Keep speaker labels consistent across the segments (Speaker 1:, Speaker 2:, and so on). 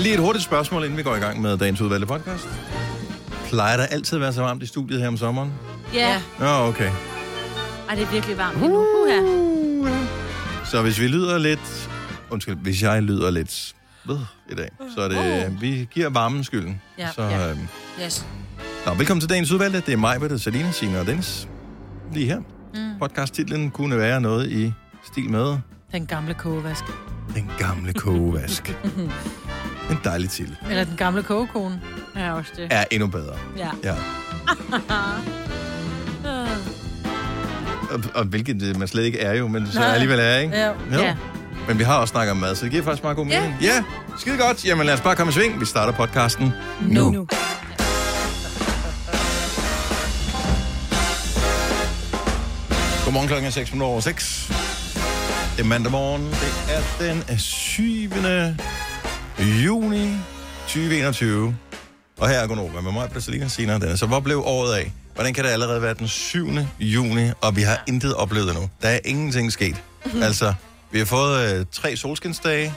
Speaker 1: Lige et hurtigt spørgsmål, inden vi går i gang med dagens udvalgte podcast. Plejer der altid at være så varmt i studiet her om sommeren?
Speaker 2: Ja.
Speaker 1: Ja, okay.
Speaker 2: Ej, det er virkelig varmt lige nu. Uh-huh.
Speaker 1: Så hvis vi lyder lidt... Undskyld, hvis jeg lyder lidt ved i dag, så er det... øh, Vi giver varmen skylden.
Speaker 2: Ja.
Speaker 1: Så,
Speaker 2: Ja.
Speaker 1: øhm,
Speaker 2: Yes.
Speaker 1: Nå, velkommen til dagens udvalgte. Det er mig, Britta, Salina, Signe og Dennis. Lige her. Mm. Podcasttitlen kunne være noget i stil med
Speaker 3: Den gamle kogevask.
Speaker 1: Den gamle kogevask. en dejlig titel.
Speaker 3: Eller den gamle kogekone.
Speaker 2: Ja, også det.
Speaker 1: Er endnu bedre.
Speaker 2: Ja.
Speaker 1: Ja. og, og hvilket øh, man slet ikke er jo, men så
Speaker 3: Nej.
Speaker 1: alligevel er, ikke?
Speaker 3: Ja.
Speaker 1: Jo.
Speaker 2: Ja.
Speaker 1: Men vi har også snakket om mad, så det giver faktisk meget god mening. Ja, ja skide godt. Jamen lad os bare komme i sving. Vi starter podcasten nu. nu. Godmorgen klokken er 6 over 6. Det er mandag morgen. Det er den 7. juni 2021. Og her er Gunova med mig, Plastilina senere. Den. Så hvor blev året af? Hvordan kan det allerede være den 7. juni, og vi har intet oplevet endnu? Der er ingenting sket.
Speaker 2: Mhm.
Speaker 1: Altså, vi har fået øh, tre solskinsdage,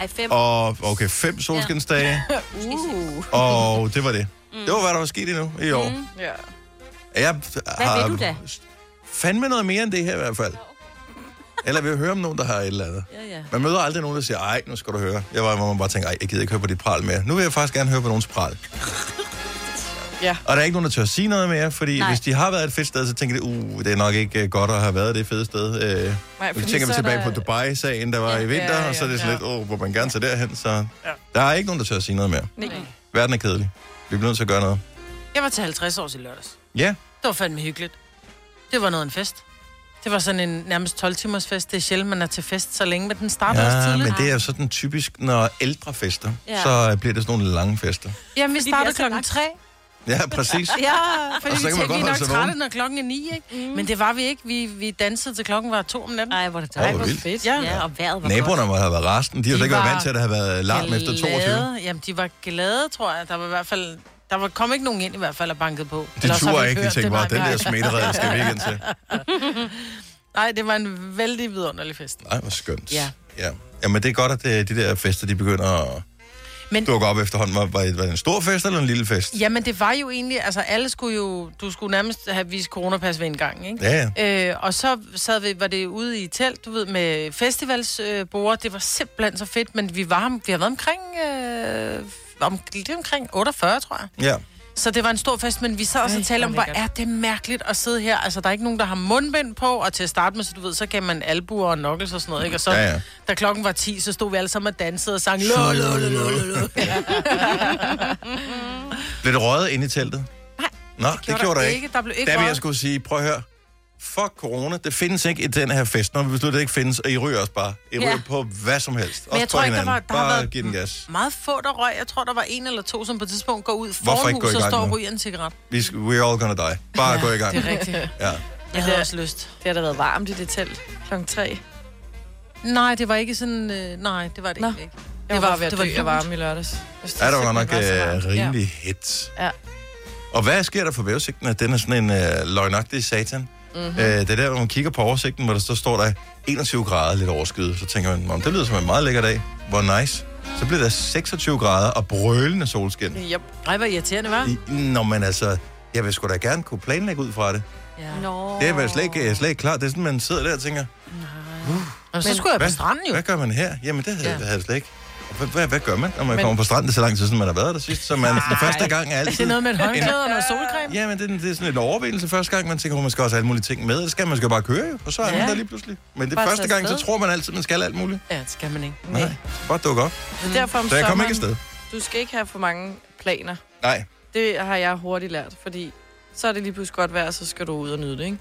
Speaker 2: Ej, fem.
Speaker 1: og okay, fem solskinsdage,
Speaker 2: Uh.
Speaker 1: og det var det.
Speaker 2: Mm.
Speaker 1: Det var, hvad der var sket endnu i år.
Speaker 4: Mm.
Speaker 3: Ja.
Speaker 1: Jeg har
Speaker 2: Mhm. ved du da?
Speaker 1: fandme noget mere end det her i hvert fald. Eller vi hører om nogen, der har et eller andet.
Speaker 2: Ja, ja.
Speaker 1: Man møder aldrig nogen, der siger, ej, nu skal du høre. Jeg var, hvor man bare tænker, ej, jeg gider ikke høre på dit pral mere. Nu vil jeg faktisk gerne høre på nogens pral.
Speaker 3: Ja.
Speaker 1: Og der er ikke nogen, der tør sige noget mere, fordi Nej.
Speaker 2: Nej.
Speaker 1: hvis de har været et fedt sted, så tænker de, uh, det er nok ikke øh, godt at have været det fede sted. Øh, Nej,
Speaker 3: fordi
Speaker 1: tænker
Speaker 3: så
Speaker 1: vi
Speaker 3: er
Speaker 1: tilbage der...
Speaker 3: der-
Speaker 1: på Dubai-sagen, der var ja, i vinter, ja, ja, og så er det sådan ja. lidt, åh, oh, hvor man gerne tager derhen. Så ja. der er ikke nogen, der tør sige noget mere.
Speaker 3: Nej.
Speaker 1: Verden er kedelig. Vi bliver nødt til at gøre noget.
Speaker 3: Jeg var til 50 år i lørdags.
Speaker 1: Ja,
Speaker 3: Det var fandme hyggeligt. Det var noget af en fest. Det var sådan en nærmest 12-timers fest. Det er sjældent, man er til fest så længe, men den starter også
Speaker 1: ja
Speaker 3: tidligt.
Speaker 1: men det er jo sådan typisk, når ældre fester, ja.
Speaker 2: Ja.
Speaker 1: så øh, bliver det sådan nogle lange fester.
Speaker 3: Jamen, vi
Speaker 2: Fordi de
Speaker 3: startede
Speaker 2: er så
Speaker 3: klokken
Speaker 2: langt.
Speaker 3: 3.
Speaker 1: Ja, præcis.
Speaker 3: Ja, fordi
Speaker 1: Og så
Speaker 3: vi tænkte,
Speaker 1: kan man godt
Speaker 3: vi er
Speaker 1: holde
Speaker 3: nok
Speaker 1: sig
Speaker 3: trætte,
Speaker 1: vågen.
Speaker 3: når klokken er 9, ikke? Mm. Men det var vi ikke. Vi, vi dansede til klokken var 2 om natten.
Speaker 2: Ej, hvor er det
Speaker 1: Åh,
Speaker 2: dejligt.
Speaker 1: hvor
Speaker 2: Hvor
Speaker 1: vildt.
Speaker 2: fedt.
Speaker 3: Ja.
Speaker 2: Ja, og vejret var
Speaker 1: Naboerne
Speaker 2: godt.
Speaker 1: må have været resten. De har jo
Speaker 3: De
Speaker 1: ikke været
Speaker 3: var
Speaker 1: vant til, at der har været larm efter 22.
Speaker 3: Glade. Jamen, de var glade, tror jeg. Der var i hvert fald... Der var, kom ikke nogen ind i hvert fald og bankede på.
Speaker 1: De
Speaker 3: Ellers har
Speaker 1: turer
Speaker 3: vi
Speaker 1: ikke, de
Speaker 3: hørt
Speaker 1: tænker
Speaker 3: det
Speaker 1: bare,
Speaker 3: mange
Speaker 1: den
Speaker 3: gange."
Speaker 1: der smitterede skal vi ikke ind til.
Speaker 3: Nej, det var en vældig vidunderlig fest.
Speaker 1: Ej, hvor skønt.
Speaker 3: Ja.
Speaker 1: ja. Jamen, det er godt, at øh, de der fester, de begynder at
Speaker 3: Men-
Speaker 1: dukke op efterhånden. Var, var, var det en stor fest eller en lille fest?
Speaker 3: Jamen, det var jo egentlig... Altså, alle skulle jo... Du skulle nærmest have vist coronapas ved en gang, ikke?
Speaker 1: Ja, ja.
Speaker 3: Øh, og så sad vi, var det ude i telt, du ved, med festivalsbord. Øh, borde. det var simpelthen så fedt, men vi var, vi har været omkring, øh, om, lige omkring 48, tror jeg.
Speaker 1: Ja.
Speaker 3: Så det var en stor fest, men vi sad og så
Speaker 4: Ej,
Speaker 3: talte om,
Speaker 4: hvor
Speaker 3: hvor
Speaker 4: lækkert.
Speaker 3: er det mærkeligt at sidde her. Altså, der er ikke nogen, der har mundbind på, og til at starte med, så du ved, så gav man albuer og knuckles og sådan noget, ikke? Og så,
Speaker 1: Ja, ja.
Speaker 3: da klokken var 10, så stod vi alle sammen og dansede og sang, lå, lå, lå, lå, lå, lå.
Speaker 1: Blev det røget inde i teltet? Nej, Nå, det gjorde, der ikke.
Speaker 3: Der blev ikke
Speaker 1: Der vil jeg
Speaker 3: røget.
Speaker 1: skulle sige, prøv at høre. Fuck corona, det findes ikke i den her fest, når vi beslutter, det ikke findes, og I ryger os bare. I ryger
Speaker 2: Ja.
Speaker 1: på hvad som helst.
Speaker 3: Men jeg
Speaker 1: Også på
Speaker 3: tror ikke, der
Speaker 1: hinanden.
Speaker 3: var, der har
Speaker 1: Bare
Speaker 3: været
Speaker 1: giv den gas.
Speaker 3: meget få, der røg. Jeg tror, der var en eller to, som på et tidspunkt går ud
Speaker 1: Hvorfor
Speaker 3: foran
Speaker 1: ikke gå i
Speaker 3: huset og
Speaker 1: gang
Speaker 3: står og
Speaker 1: nu?
Speaker 3: ryger en cigaret.
Speaker 1: Vi skal, we're all gonna die. Bare ja, gå i gang.
Speaker 3: Det er rigtigt.
Speaker 1: Ja.
Speaker 3: Jeg havde også lyst.
Speaker 4: Det har da været varmt i det telt klokken 3.
Speaker 3: Nej, det var ikke sådan... Øh, nej, det var det
Speaker 4: Nå.
Speaker 3: ikke.
Speaker 4: Jeg det var, ved at dø af
Speaker 3: lunt.
Speaker 4: varme i lørdags. Hvis
Speaker 1: Ja, det var godt nok
Speaker 4: simpelthen var så
Speaker 1: øh,
Speaker 4: varmt.
Speaker 1: rimelig ja. hit.
Speaker 4: Ja.
Speaker 1: Og hvad sker der for vævesigten, at den er sådan en øh, løgnagtig satan?
Speaker 4: Mhm.
Speaker 1: Mm-hmm. Øh, det er der, hvor man kigger på oversigten, hvor der så står der 21 grader lidt overskyet. Så tænker man, om det lyder som en meget lækker dag. Hvor nice. Så bliver der 26 grader og brølende solskin.
Speaker 4: Ja. Yep.
Speaker 3: Ej, hvor irriterende, var.
Speaker 1: I- Nå, men altså, jeg vil sgu da gerne kunne planlægge ud fra det.
Speaker 3: Ja.
Speaker 4: Nå.
Speaker 1: Det er vel slet ikke, jeg er slet ikke klart. Det er sådan, man sidder der og tænker,
Speaker 3: Men, så skulle jeg
Speaker 1: hvad,
Speaker 3: på stranden jo.
Speaker 1: hvad gør man her? Jamen, det havde,
Speaker 3: Ja.
Speaker 1: ja. havde jeg slet ikke. Hvad, hvad, hvad gør man, når man men... kommer på stranden? Det er så lang tid siden, man har været der sidst. Så man, den første gang er
Speaker 3: Det
Speaker 1: altid...
Speaker 3: er noget med et håndklæde og noget solcreme.
Speaker 1: Ja, men det, det er sådan en overvindelse første gang, man tænker, at man skal også have alle mulige ting med. Det skal man skal bare køre, jo, og så er ja.
Speaker 3: Ja.
Speaker 1: man der lige pludselig. Men det
Speaker 4: Bare
Speaker 1: første
Speaker 4: tage
Speaker 1: gang, så
Speaker 4: afsted.
Speaker 1: tror man altid, man skal alt muligt.
Speaker 3: Ja, det skal man ikke.
Speaker 1: Nej,
Speaker 4: Nej.
Speaker 1: bare dukke op.
Speaker 4: Så derfor om
Speaker 1: Så jeg kom ikke
Speaker 4: sommeren,
Speaker 1: afsted.
Speaker 4: du skal ikke have for mange planer.
Speaker 1: Nej,
Speaker 4: Det har jeg hurtigt lært, fordi så er det lige pludselig godt vejr, så skal du ud og nyde det, ikke?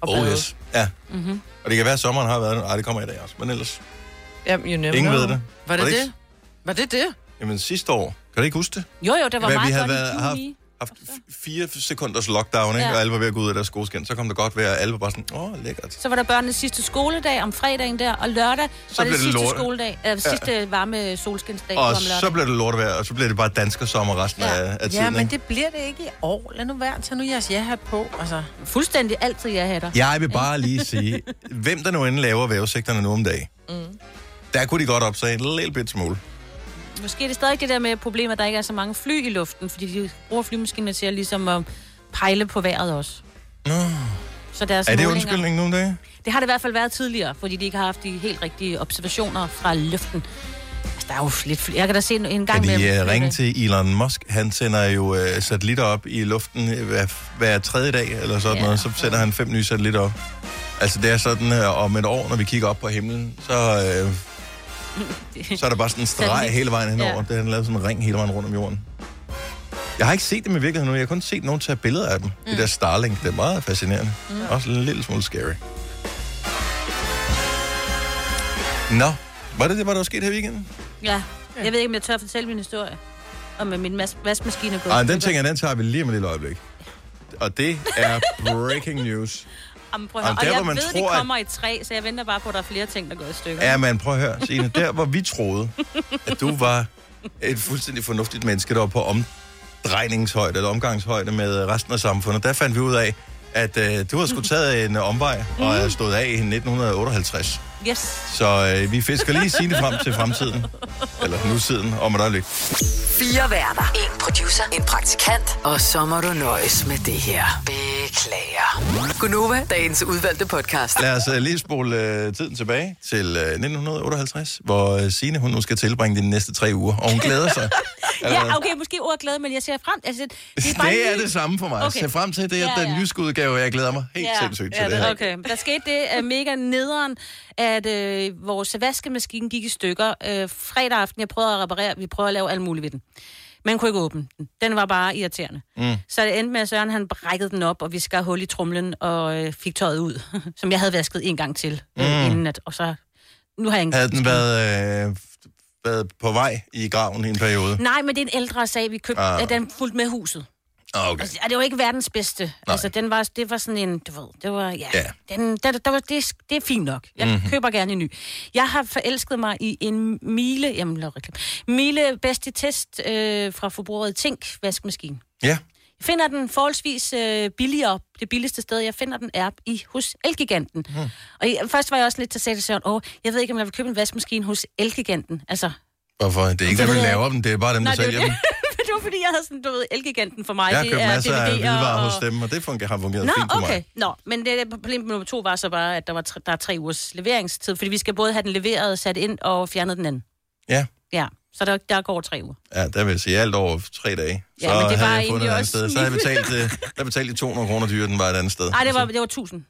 Speaker 4: Og
Speaker 1: oh
Speaker 4: bade.
Speaker 1: yes. Ja. Mm-hmm.
Speaker 4: Mhm.
Speaker 1: Og det kan være, at sommeren har været... Nej, det kommer i dag også, men ellers...
Speaker 4: Jamen, you never
Speaker 1: Ingen
Speaker 4: know.
Speaker 1: ved det.
Speaker 3: Var det
Speaker 1: ikke-
Speaker 3: det? Var det det?
Speaker 1: Jamen sidste år, kan du ikke huske det?
Speaker 2: Jo, jo, det var
Speaker 1: Hvad vi
Speaker 2: meget
Speaker 1: havde
Speaker 2: godt
Speaker 1: været-
Speaker 2: i juni.
Speaker 1: Haft f- fire sekunders lockdown, ikke?
Speaker 2: Ja.
Speaker 1: Ja. og alle var ved at gå ud af deres skoskin. Så kom det godt vejr, og alle var bare sådan, åh, oh, lækkert.
Speaker 2: Så var der børnenes sidste skoledag om fredagen der, og lørdag var
Speaker 1: blev
Speaker 2: det
Speaker 1: det
Speaker 2: sidste
Speaker 1: lorte.
Speaker 2: skoledag, øh, sidste varme solskinsdag
Speaker 1: Og
Speaker 2: om lørdag.
Speaker 1: så blev det lortevejr, og så blev det bare dansker sommer resten
Speaker 2: Ja.
Speaker 1: af, af tiden.
Speaker 3: Ja, men
Speaker 1: ikke?
Speaker 3: det bliver det ikke i år. Lad nu være. Tag nu jeres ja-hat på. Altså,
Speaker 2: Fuldstændig altid, jeg hatter.
Speaker 1: Jeg vil bare lige sige, hvem der nu end laver vævesigterne nu om dagen, mm. der kunne de godt opsage en lille bit smule.
Speaker 2: måske er det stadig det der med problemet, at der ikke er så mange fly i luften, fordi de bruger flymaskinerne til at ligesom at pejle på vejret også.
Speaker 1: Nå.
Speaker 2: Så deres
Speaker 1: Er det
Speaker 2: målinger-
Speaker 1: undskyldning nogle dage?
Speaker 2: Det har det i hvert fald været tidligere, fordi de ikke har haft de helt rigtige observationer fra luften. Altså, der er jo lidt fly. Jeg kan da se en en gang
Speaker 1: Kan de
Speaker 2: med...
Speaker 1: uh, ringe til Elon Musk? Han sender jo uh, satellitter op i luften øh, hver, hver tredje dag, eller sådan
Speaker 2: Ja.
Speaker 1: ja. noget. Så sender han fem nye satellitter op. Altså, det er sådan, uh, om et år, når vi kigger op på himlen, så, uh, så er der bare sådan en streg
Speaker 2: Satellit.
Speaker 1: hele vejen henover.
Speaker 2: Ja.
Speaker 1: Ja. Det har han lavet sådan en ring hele vejen rundt om jorden. Jeg har ikke set dem i virkeligheden nu. Jeg har kun set nogen tage billeder af dem. Mm. Det der Starlink, det er meget fascinerende. Mm. Også en lille smule scary. Nå, var det det, hvad der var sket her i weekenden?
Speaker 2: Ja. Jeg ved ikke, om jeg tør fortælle min historie. Og med min mas- vaskemaskine er gået.
Speaker 1: Ej,
Speaker 2: i
Speaker 1: den
Speaker 2: stykker.
Speaker 1: tænker jeg, den tager vi lige om et lille øjeblik. Og det er breaking news.
Speaker 2: Jamen, prøv at høre.
Speaker 1: Jamen, der,
Speaker 2: og
Speaker 1: hvor man
Speaker 2: jeg ved,
Speaker 1: tror,
Speaker 2: de
Speaker 1: at-
Speaker 2: kommer i tre, så jeg venter bare på, at der er flere ting, der går i stykker.
Speaker 1: Ja, men prøv at høre, Signe, der hvor vi troede, at du var et fuldstændig fornuftigt menneske, der var på omdrejningshøjde eller omgangshøjde med resten af samfundet, der fandt vi ud af, at øh, du havde sgu taget en øh, omvej og er stået af i 1958.
Speaker 2: Yes.
Speaker 1: Så øh, vi fisker lige Signe frem til fremtiden. Eller nutiden, om et øjeblik.
Speaker 5: Fire værter. En producer. En praktikant. Og så må du nøjes med det her. Beklager. Gunova, dagens udvalgte podcast.
Speaker 1: Lad os øh, lige spole øh, tiden tilbage til øh, 1958, hvor øh, Signe, hun nu skal tilbringe de næste tre uger, og hun glæder sig.
Speaker 2: Ja, okay, måske ordglæde, men jeg ser frem. Altså, det, det er bare
Speaker 1: Det er
Speaker 2: lige-
Speaker 1: det samme for mig. Okay.
Speaker 2: Okay.
Speaker 1: Se frem til det, ja,
Speaker 2: Ja,
Speaker 1: den
Speaker 2: ja.
Speaker 1: jyske udgave, jeg glæder mig helt ja. sindssygt til ja, det her.
Speaker 2: Okay. Der skete det uh, mega nederen, at øh, vores vaskemaskine gik i stykker. Øh, fredag aften, jeg prøvede at reparere, vi prøvede at lave alt muligt ved den. Man kunne ikke åbne den. Den var bare irriterende. Mm. Så det endte med, at Søren han brækkede den op, og vi skar hul i trumlen og øh, fik tøjet ud, som jeg havde vasket en gang til øh, inden at, og så... Nu har jeg en
Speaker 1: Mm. Havde den været, øh, været på vej i graven i en periode?
Speaker 2: Nej, men det er en ældre sag, vi købte.
Speaker 1: Ah.
Speaker 2: Ah. Den fulgte med huset.
Speaker 1: Ah, Okay.
Speaker 2: Altså, og det var ikke verdens bedste. Nej. Altså, den var, det var sådan en, du ved, det var, ja,
Speaker 1: Ja. Mhm.
Speaker 2: ja. Den, der, der var, det, det er fint nok. Jeg mm-hmm. køber gerne en ny. Jeg har forelsket mig i en Miele, jamen, lav reklame, Miele bedste test øh, fra forbruget Tink vaskemaskine.
Speaker 1: Ja.
Speaker 2: Jeg finder den forholdsvis øh, billigere. Det billigste sted, jeg finder den, er i hos Elgiganten. Mm.
Speaker 1: Mhm.
Speaker 2: Og jeg, først var jeg også lidt til at sætte Søren, åh, jeg ved ikke, om jeg vil købe en vaskemaskine hos Elgiganten. Altså,
Speaker 1: Hvorfor? Det er ikke dem,
Speaker 2: ved
Speaker 1: der
Speaker 2: jeg
Speaker 1: laver dem, det er bare dem, der
Speaker 2: Altså, Nej, det er
Speaker 1: sælger
Speaker 2: jo
Speaker 1: dem.
Speaker 2: det. det var fordi, jeg havde sådan, du ved, Elgiganten for mig.
Speaker 1: Jeg har
Speaker 2: det
Speaker 1: købt
Speaker 2: er
Speaker 1: masser af
Speaker 2: DVD'er
Speaker 1: hvidevarer hos dem, og det fungerer, har fungeret
Speaker 2: Nå,
Speaker 1: fint for
Speaker 2: okay.
Speaker 1: mig.
Speaker 2: Nå, men det, problem nummer to var så bare, at der, var tre, der er tre ugers leveringstid, fordi vi skal både have den leveret, sat ind og fjernet den anden.
Speaker 1: Ja.
Speaker 2: Ja, så der, der går tre uger.
Speaker 1: Ja, der vil jeg sige alt over tre dage. Så
Speaker 2: Ja, men det var
Speaker 1: havde jeg fundet
Speaker 2: egentlig
Speaker 1: et andet
Speaker 2: også
Speaker 1: sted. Så havde jeg betalt, øh, der betalte de 200 kroner dyrere, den var et andet sted.
Speaker 2: Nej, det var, det var 1000.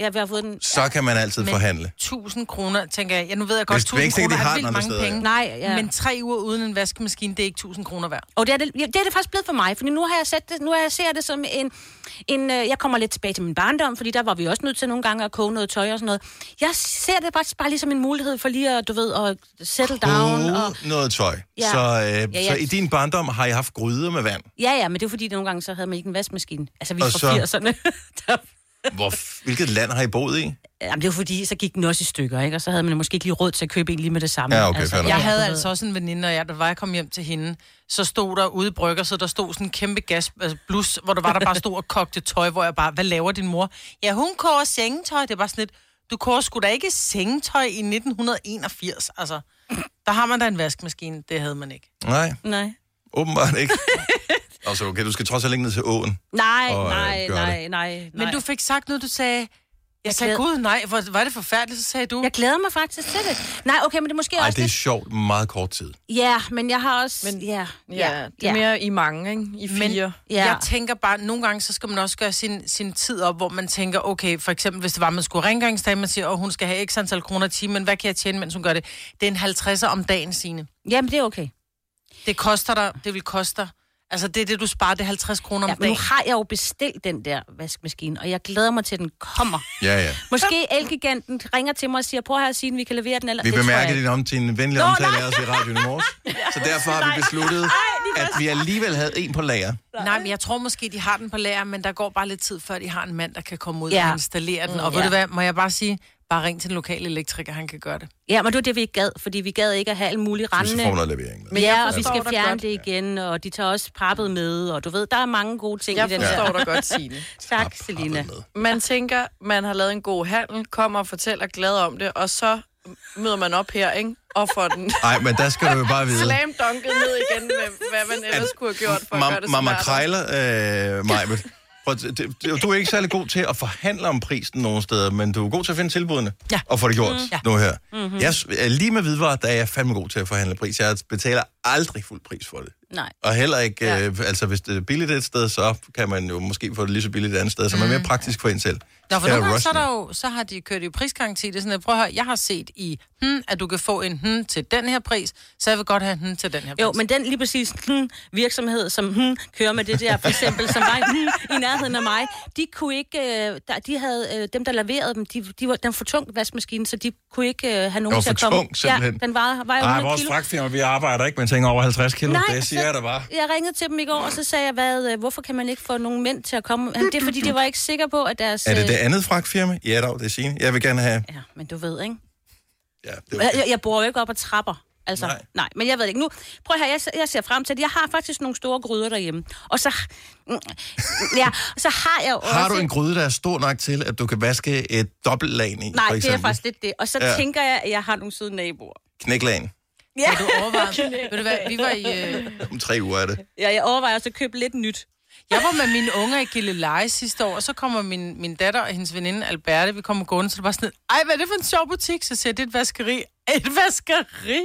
Speaker 2: Ja, vi har fået den...
Speaker 1: Så kan man altid
Speaker 3: Men-
Speaker 1: forhandle.
Speaker 3: 1000 kroner, tænker jeg. Ja, nu ved jeg godt,
Speaker 1: Hvis-
Speaker 3: 1000
Speaker 1: hvis ikke
Speaker 3: kroner
Speaker 1: de har
Speaker 3: er
Speaker 1: den
Speaker 3: vildt
Speaker 1: andre
Speaker 3: mange
Speaker 1: steder,
Speaker 3: penge.
Speaker 2: Nej, ja.
Speaker 3: Men tre uger uden en vaskemaskine, det er ikke 1000 kroner værd.
Speaker 2: Og det er det, ja, det er det faktisk blevet for mig, for nu har jeg sat det, nu har jeg ser det som en, en... øh, Jeg kommer lidt tilbage til min barndom, fordi der var vi også nødt til nogle gange at koge noget tøj og sådan noget. Jeg ser det faktisk bare lige som en mulighed for lige at, du ved, at settle down. Og,
Speaker 1: Ude noget tøj.
Speaker 2: Ja.
Speaker 1: Så, øh,
Speaker 2: Ja,
Speaker 1: ja,
Speaker 2: ja.
Speaker 1: så i din barndom har jeg haft gryder med vand.
Speaker 2: ja, ja, men det er fordi, nogle gange så havde man ikke en vaskemaskine. Altså, vi er
Speaker 1: Og så-
Speaker 2: fra 80'erne. Der-
Speaker 1: Hvor, hvilket land har I boet i?
Speaker 2: Jamen, det var fordi, så gik den også i stykker, ikke? Og så havde man måske ikke lige råd til at købe en lige med det samme.
Speaker 1: Ja, okay, fair nok.
Speaker 3: Jeg
Speaker 2: du
Speaker 3: havde
Speaker 2: ved.
Speaker 3: altså også en veninde, og jeg, der var jeg kom hjem til hende, så stod der ude i brygger, så der stod sådan en kæmpe gas, altså blus, hvor der var der bare stod og kogte tøj, hvor jeg bare, hvad laver din mor? Ja, hun koger sengetøj. Det er bare sådan lidt, du koger sgu da ikke sengetøj i 1981, altså. Der har man da en vaskemaskine, det havde man ikke.
Speaker 1: Nej,
Speaker 2: Nej.
Speaker 1: åbenbart ikke. altså, okay, du skal trods alt ikke ned til åen.
Speaker 2: Nej,
Speaker 1: Og, øh,
Speaker 2: nej,
Speaker 1: gør
Speaker 2: nej, nej,
Speaker 3: Men
Speaker 2: nej.
Speaker 3: du fik sagt noget, du sagde, jeg, jeg sagde,
Speaker 2: sagde,
Speaker 3: gud nej, hvor var det forfærdeligt, så sagde du.
Speaker 2: Jeg glæder mig faktisk til det. Nej, okay, men det er måske
Speaker 1: Nej,
Speaker 2: også
Speaker 1: det er
Speaker 2: lidt...
Speaker 1: sjovt. Meget kort tid.
Speaker 2: Ja, men jeg har også...
Speaker 4: Men-
Speaker 2: ja,
Speaker 4: Ja, det er mere i mange, ikke? I
Speaker 3: Men
Speaker 4: fire.
Speaker 2: Ja.
Speaker 3: jeg tænker bare, nogle gange, så skal man også gøre sin, sin tid op, hvor man tænker, okay, for eksempel, hvis det var, man skulle rengøringsdag, man siger, at hun skal have x antal kroner i timen, men hvad kan jeg tjene, mens hun gør det? Det er en 50'er om dagen, sine.
Speaker 2: Jamen, det er okay.
Speaker 3: Det koster dig, det vil koste dig. Altså, det er det, du sparer, det er 50 kroner om
Speaker 2: Ja,
Speaker 3: ja,
Speaker 2: men nu
Speaker 3: dagen.
Speaker 2: har jeg jo bestilt den der vaskemaskine, og jeg glæder mig til, at den kommer.
Speaker 1: Ja, ja.
Speaker 2: Måske Elgiganten ringer til mig og siger, prøv her at sige, vi kan levere den. Eller...
Speaker 1: Vi
Speaker 2: Det tror jeg
Speaker 1: bemærkede
Speaker 2: ikke.
Speaker 1: din om til en venlig
Speaker 2: Nå,
Speaker 1: omtale
Speaker 2: nej.
Speaker 1: af os i radioen i morges. Så derfor har vi besluttet, at vi alligevel havde en på lager.
Speaker 3: Nej, men jeg tror måske, de har den på lager, men der går bare lidt tid, før de har en mand, der kan komme ud ja.
Speaker 2: Ja.
Speaker 3: og installere den. Og
Speaker 2: Mm,
Speaker 3: ved
Speaker 2: ja.
Speaker 3: du hvad, må jeg bare sige, bare ring til den lokale elektriker, han kan gøre det.
Speaker 2: Ja, men det var det, vi ikke gad, fordi vi gad ikke at have alle mulige
Speaker 1: Hvis vi
Speaker 2: rendende...
Speaker 1: får noget levering. med.
Speaker 2: Men ja,
Speaker 4: jeg
Speaker 2: og vi
Speaker 4: forstår
Speaker 2: skal
Speaker 4: dig
Speaker 2: fjerne
Speaker 4: godt.
Speaker 2: det igen, og de tager også pappet med, og du ved, der er mange gode ting
Speaker 4: Jeg
Speaker 2: i den der.
Speaker 4: forstår dig godt, Signe.
Speaker 1: Har
Speaker 2: Tak,
Speaker 1: pappet
Speaker 2: Selina.
Speaker 1: med.
Speaker 4: Man tænker, man har lavet en god handel, kommer og fortæller glad om det, og så møder man op her, ikke? Og får den
Speaker 1: Nej, men der skal du jo bare vide.
Speaker 4: slam dunket ned igen med, hvad man ellers kunne have gjort for at gøre det
Speaker 1: Mamma
Speaker 4: smartere.
Speaker 1: Krejler, øh, Majbet. Prøv, at- det, det, du er ikke særlig god til at forhandle om prisen nogen steder, men du er god til at finde tilbudene
Speaker 3: Ja.
Speaker 1: og få det gjort
Speaker 3: Ja.
Speaker 1: mm. nu her. Mm-hmm. Jeg, s- er lige med hvidvarer, der er jeg fandme god til at forhandle pris. Jeg betaler aldrig fuld pris for det.
Speaker 2: Nej.
Speaker 1: Og heller ikke, ja. øh, altså hvis det er billigt et sted, så kan man jo måske få det lige så billigt et andet sted, så man er mere praktisk for en selv.
Speaker 3: Nå, for
Speaker 1: Jeg er
Speaker 3: nogle gange, så, er
Speaker 1: rusty.
Speaker 3: der jo, så har de kørt i prisgaranti. Det er sådan, at, prøv at høre, jeg har set i, hmm, at du kan få en hmm til den her pris, så jeg vil godt have hmm til den her pris.
Speaker 2: Jo, men den lige præcis hmm, virksomhed, som hmm, kører med det der, for eksempel, som var hmm, i nærheden af mig, de kunne ikke, øh, der, de havde, øh, dem der leverede dem, de, de var, den var for tung vaskemaskine, så de kunne ikke øh, have nogen
Speaker 1: var
Speaker 2: til at
Speaker 1: for
Speaker 2: komme.
Speaker 1: tung, simpelthen.
Speaker 2: Ja, den vejede, vejede
Speaker 1: Nej,
Speaker 2: 100
Speaker 1: vores
Speaker 2: kilo. altså-
Speaker 1: fragtfirma, vi arbejder ikke med ting over 50 kilo. Nej, det siger
Speaker 2: så
Speaker 1: jeg da bare.
Speaker 2: Jeg ringede til dem i går, og så sagde jeg, hvad, øh, hvorfor kan man ikke få nogen mænd til at komme? Han, det er fordi, de var ikke sikre på, at deres...
Speaker 1: Er det det
Speaker 2: øh,
Speaker 1: andet fragtfirma? Ja, dog, det er sine. Jeg vil gerne have...
Speaker 2: Ja, men du ved, ikke?
Speaker 1: Ja, det er
Speaker 2: Jeg,
Speaker 1: okay.
Speaker 2: jeg, jeg bor jo ikke op ad trapper. Altså,
Speaker 1: Nej.
Speaker 2: nej. nej. men jeg ved det ikke. Nu, prøv her, jeg, ser- jeg ser frem til det. Jeg har faktisk nogle store gryder derhjemme. Og så, mm, ja, og så har jeg jo også...
Speaker 1: Har du en gryde, der er stor nok til, at du kan vaske et dobbeltlag i?
Speaker 2: Nej,
Speaker 1: for
Speaker 2: det er
Speaker 1: eksempel?
Speaker 2: faktisk lidt det. Og så
Speaker 1: Ja.
Speaker 2: ja. tænker jeg, at jeg har nogle søde naboer.
Speaker 1: Knæklagen.
Speaker 2: Ja,
Speaker 3: Har du overvejet? Ved du hvad, vi var i... Øh,
Speaker 1: Om tre uger er det.
Speaker 2: ja jeg overvejer også at købe lidt nyt.
Speaker 3: jeg var med mine unger i Gilleleje sidste år, og så kommer min, min datter og hendes veninde Alberte, vi kommer gående, så det var sådan, ej, hvad er det for en sjov butik? Så siger jeg, det er et vaskeri. Et vaskeri?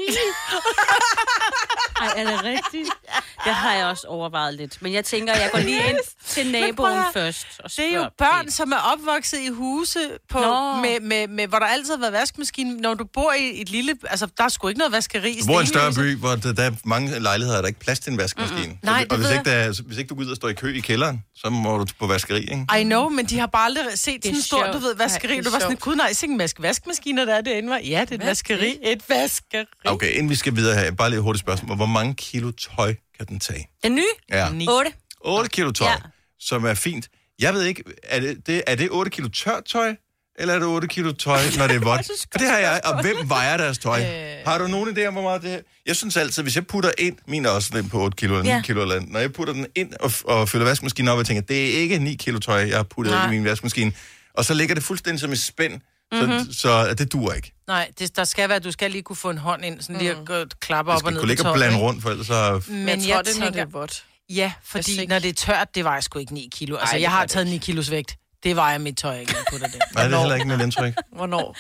Speaker 2: Ej, er det rigtigt? Det har jeg også overvejet lidt. Men jeg tænker, jeg går lige ind til
Speaker 3: at
Speaker 2: naboen
Speaker 3: høre,
Speaker 2: først. Og
Speaker 3: Det er jo
Speaker 2: spørger
Speaker 3: børn,
Speaker 2: pænt.
Speaker 3: som er opvokset i huse, på,
Speaker 2: Nå.
Speaker 3: med, med, med, hvor der altid har været vaskemaskine. Når du bor i et lille... Altså, der er sgu ikke noget vaskeri. i
Speaker 1: Du bor i en større
Speaker 3: Stenløse.
Speaker 1: by, hvor der, der er mange lejligheder, der er ikke plads til en vaskemaskine. Mm-hmm.
Speaker 3: Nej,
Speaker 1: og
Speaker 3: det
Speaker 1: hvis
Speaker 3: ved
Speaker 1: ikke, der, er- hvis ikke du går ud og står i kø i kælderen, så må du på vaskeri, ikke?
Speaker 3: I know, men de har bare aldrig set sådan en stor,
Speaker 4: sjovt.
Speaker 3: du ved, vaskeri.
Speaker 4: Ej,
Speaker 3: Ej,
Speaker 4: det er
Speaker 3: du var sådan,
Speaker 4: sjovt.
Speaker 3: gud nej, sikke en vask vaskemaskiner, der er derinde, var. Ja, det er et vaskeri. Et vaskeri.
Speaker 1: Okay, inden vi skal videre her, bare lige et hurtigt spørgsmål. Hvor mange kilo tøj kan den tage?
Speaker 2: Den nye?
Speaker 1: Ja.
Speaker 3: Ni.
Speaker 2: 8.
Speaker 1: 8 kilo tøj, ja.
Speaker 2: Ja.
Speaker 1: som er fint. Jeg ved ikke, er det, det, er det 8 kilo tørt tøj, eller er det 8 kilo tøj, når det er vådt? For det har jeg, og hvem vejer deres tøj? Øh... Har du nogen idé om, hvor meget det her? Jeg synes altid, hvis jeg putter ind, min er også den på 8 kilo eller 9 ja.
Speaker 2: Ja.
Speaker 1: kilo eller andet. Når jeg putter den ind og, og fylder vaskemaskinen op, og jeg tænker, det er ikke 9 kilo tøj, jeg har puttet Nej. i min vaskemaskine. Og så ligger det fuldstændig som et spænd, så, mm-hmm. så, så det duer ikke.
Speaker 3: Nej, det, der skal være, du skal lige kunne få en hånd ind, sådan
Speaker 2: Mm.
Speaker 3: lige at gå- klappe
Speaker 1: Jeg
Speaker 3: op og
Speaker 1: skal
Speaker 3: ned
Speaker 1: kunne ligge og
Speaker 3: toppen,
Speaker 1: blande
Speaker 3: ikke?
Speaker 1: rundt, for ellers så...
Speaker 3: Men
Speaker 4: Men jeg, tror, det er, når det
Speaker 3: tænker,
Speaker 4: er vådt.
Speaker 3: ja, fordi
Speaker 4: Jeg er sikker.
Speaker 3: når det er tørt, det vejer sgu ikke 9 kilo. Altså,
Speaker 4: Ej,
Speaker 3: Ej,
Speaker 4: det
Speaker 3: jeg
Speaker 4: gør
Speaker 3: har
Speaker 4: det
Speaker 3: taget 9 kilos vægt. Det vejer mit tøj ikke, når jeg putter det.
Speaker 1: Nej, det er heller ikke mit indtryk.
Speaker 4: Hvornår?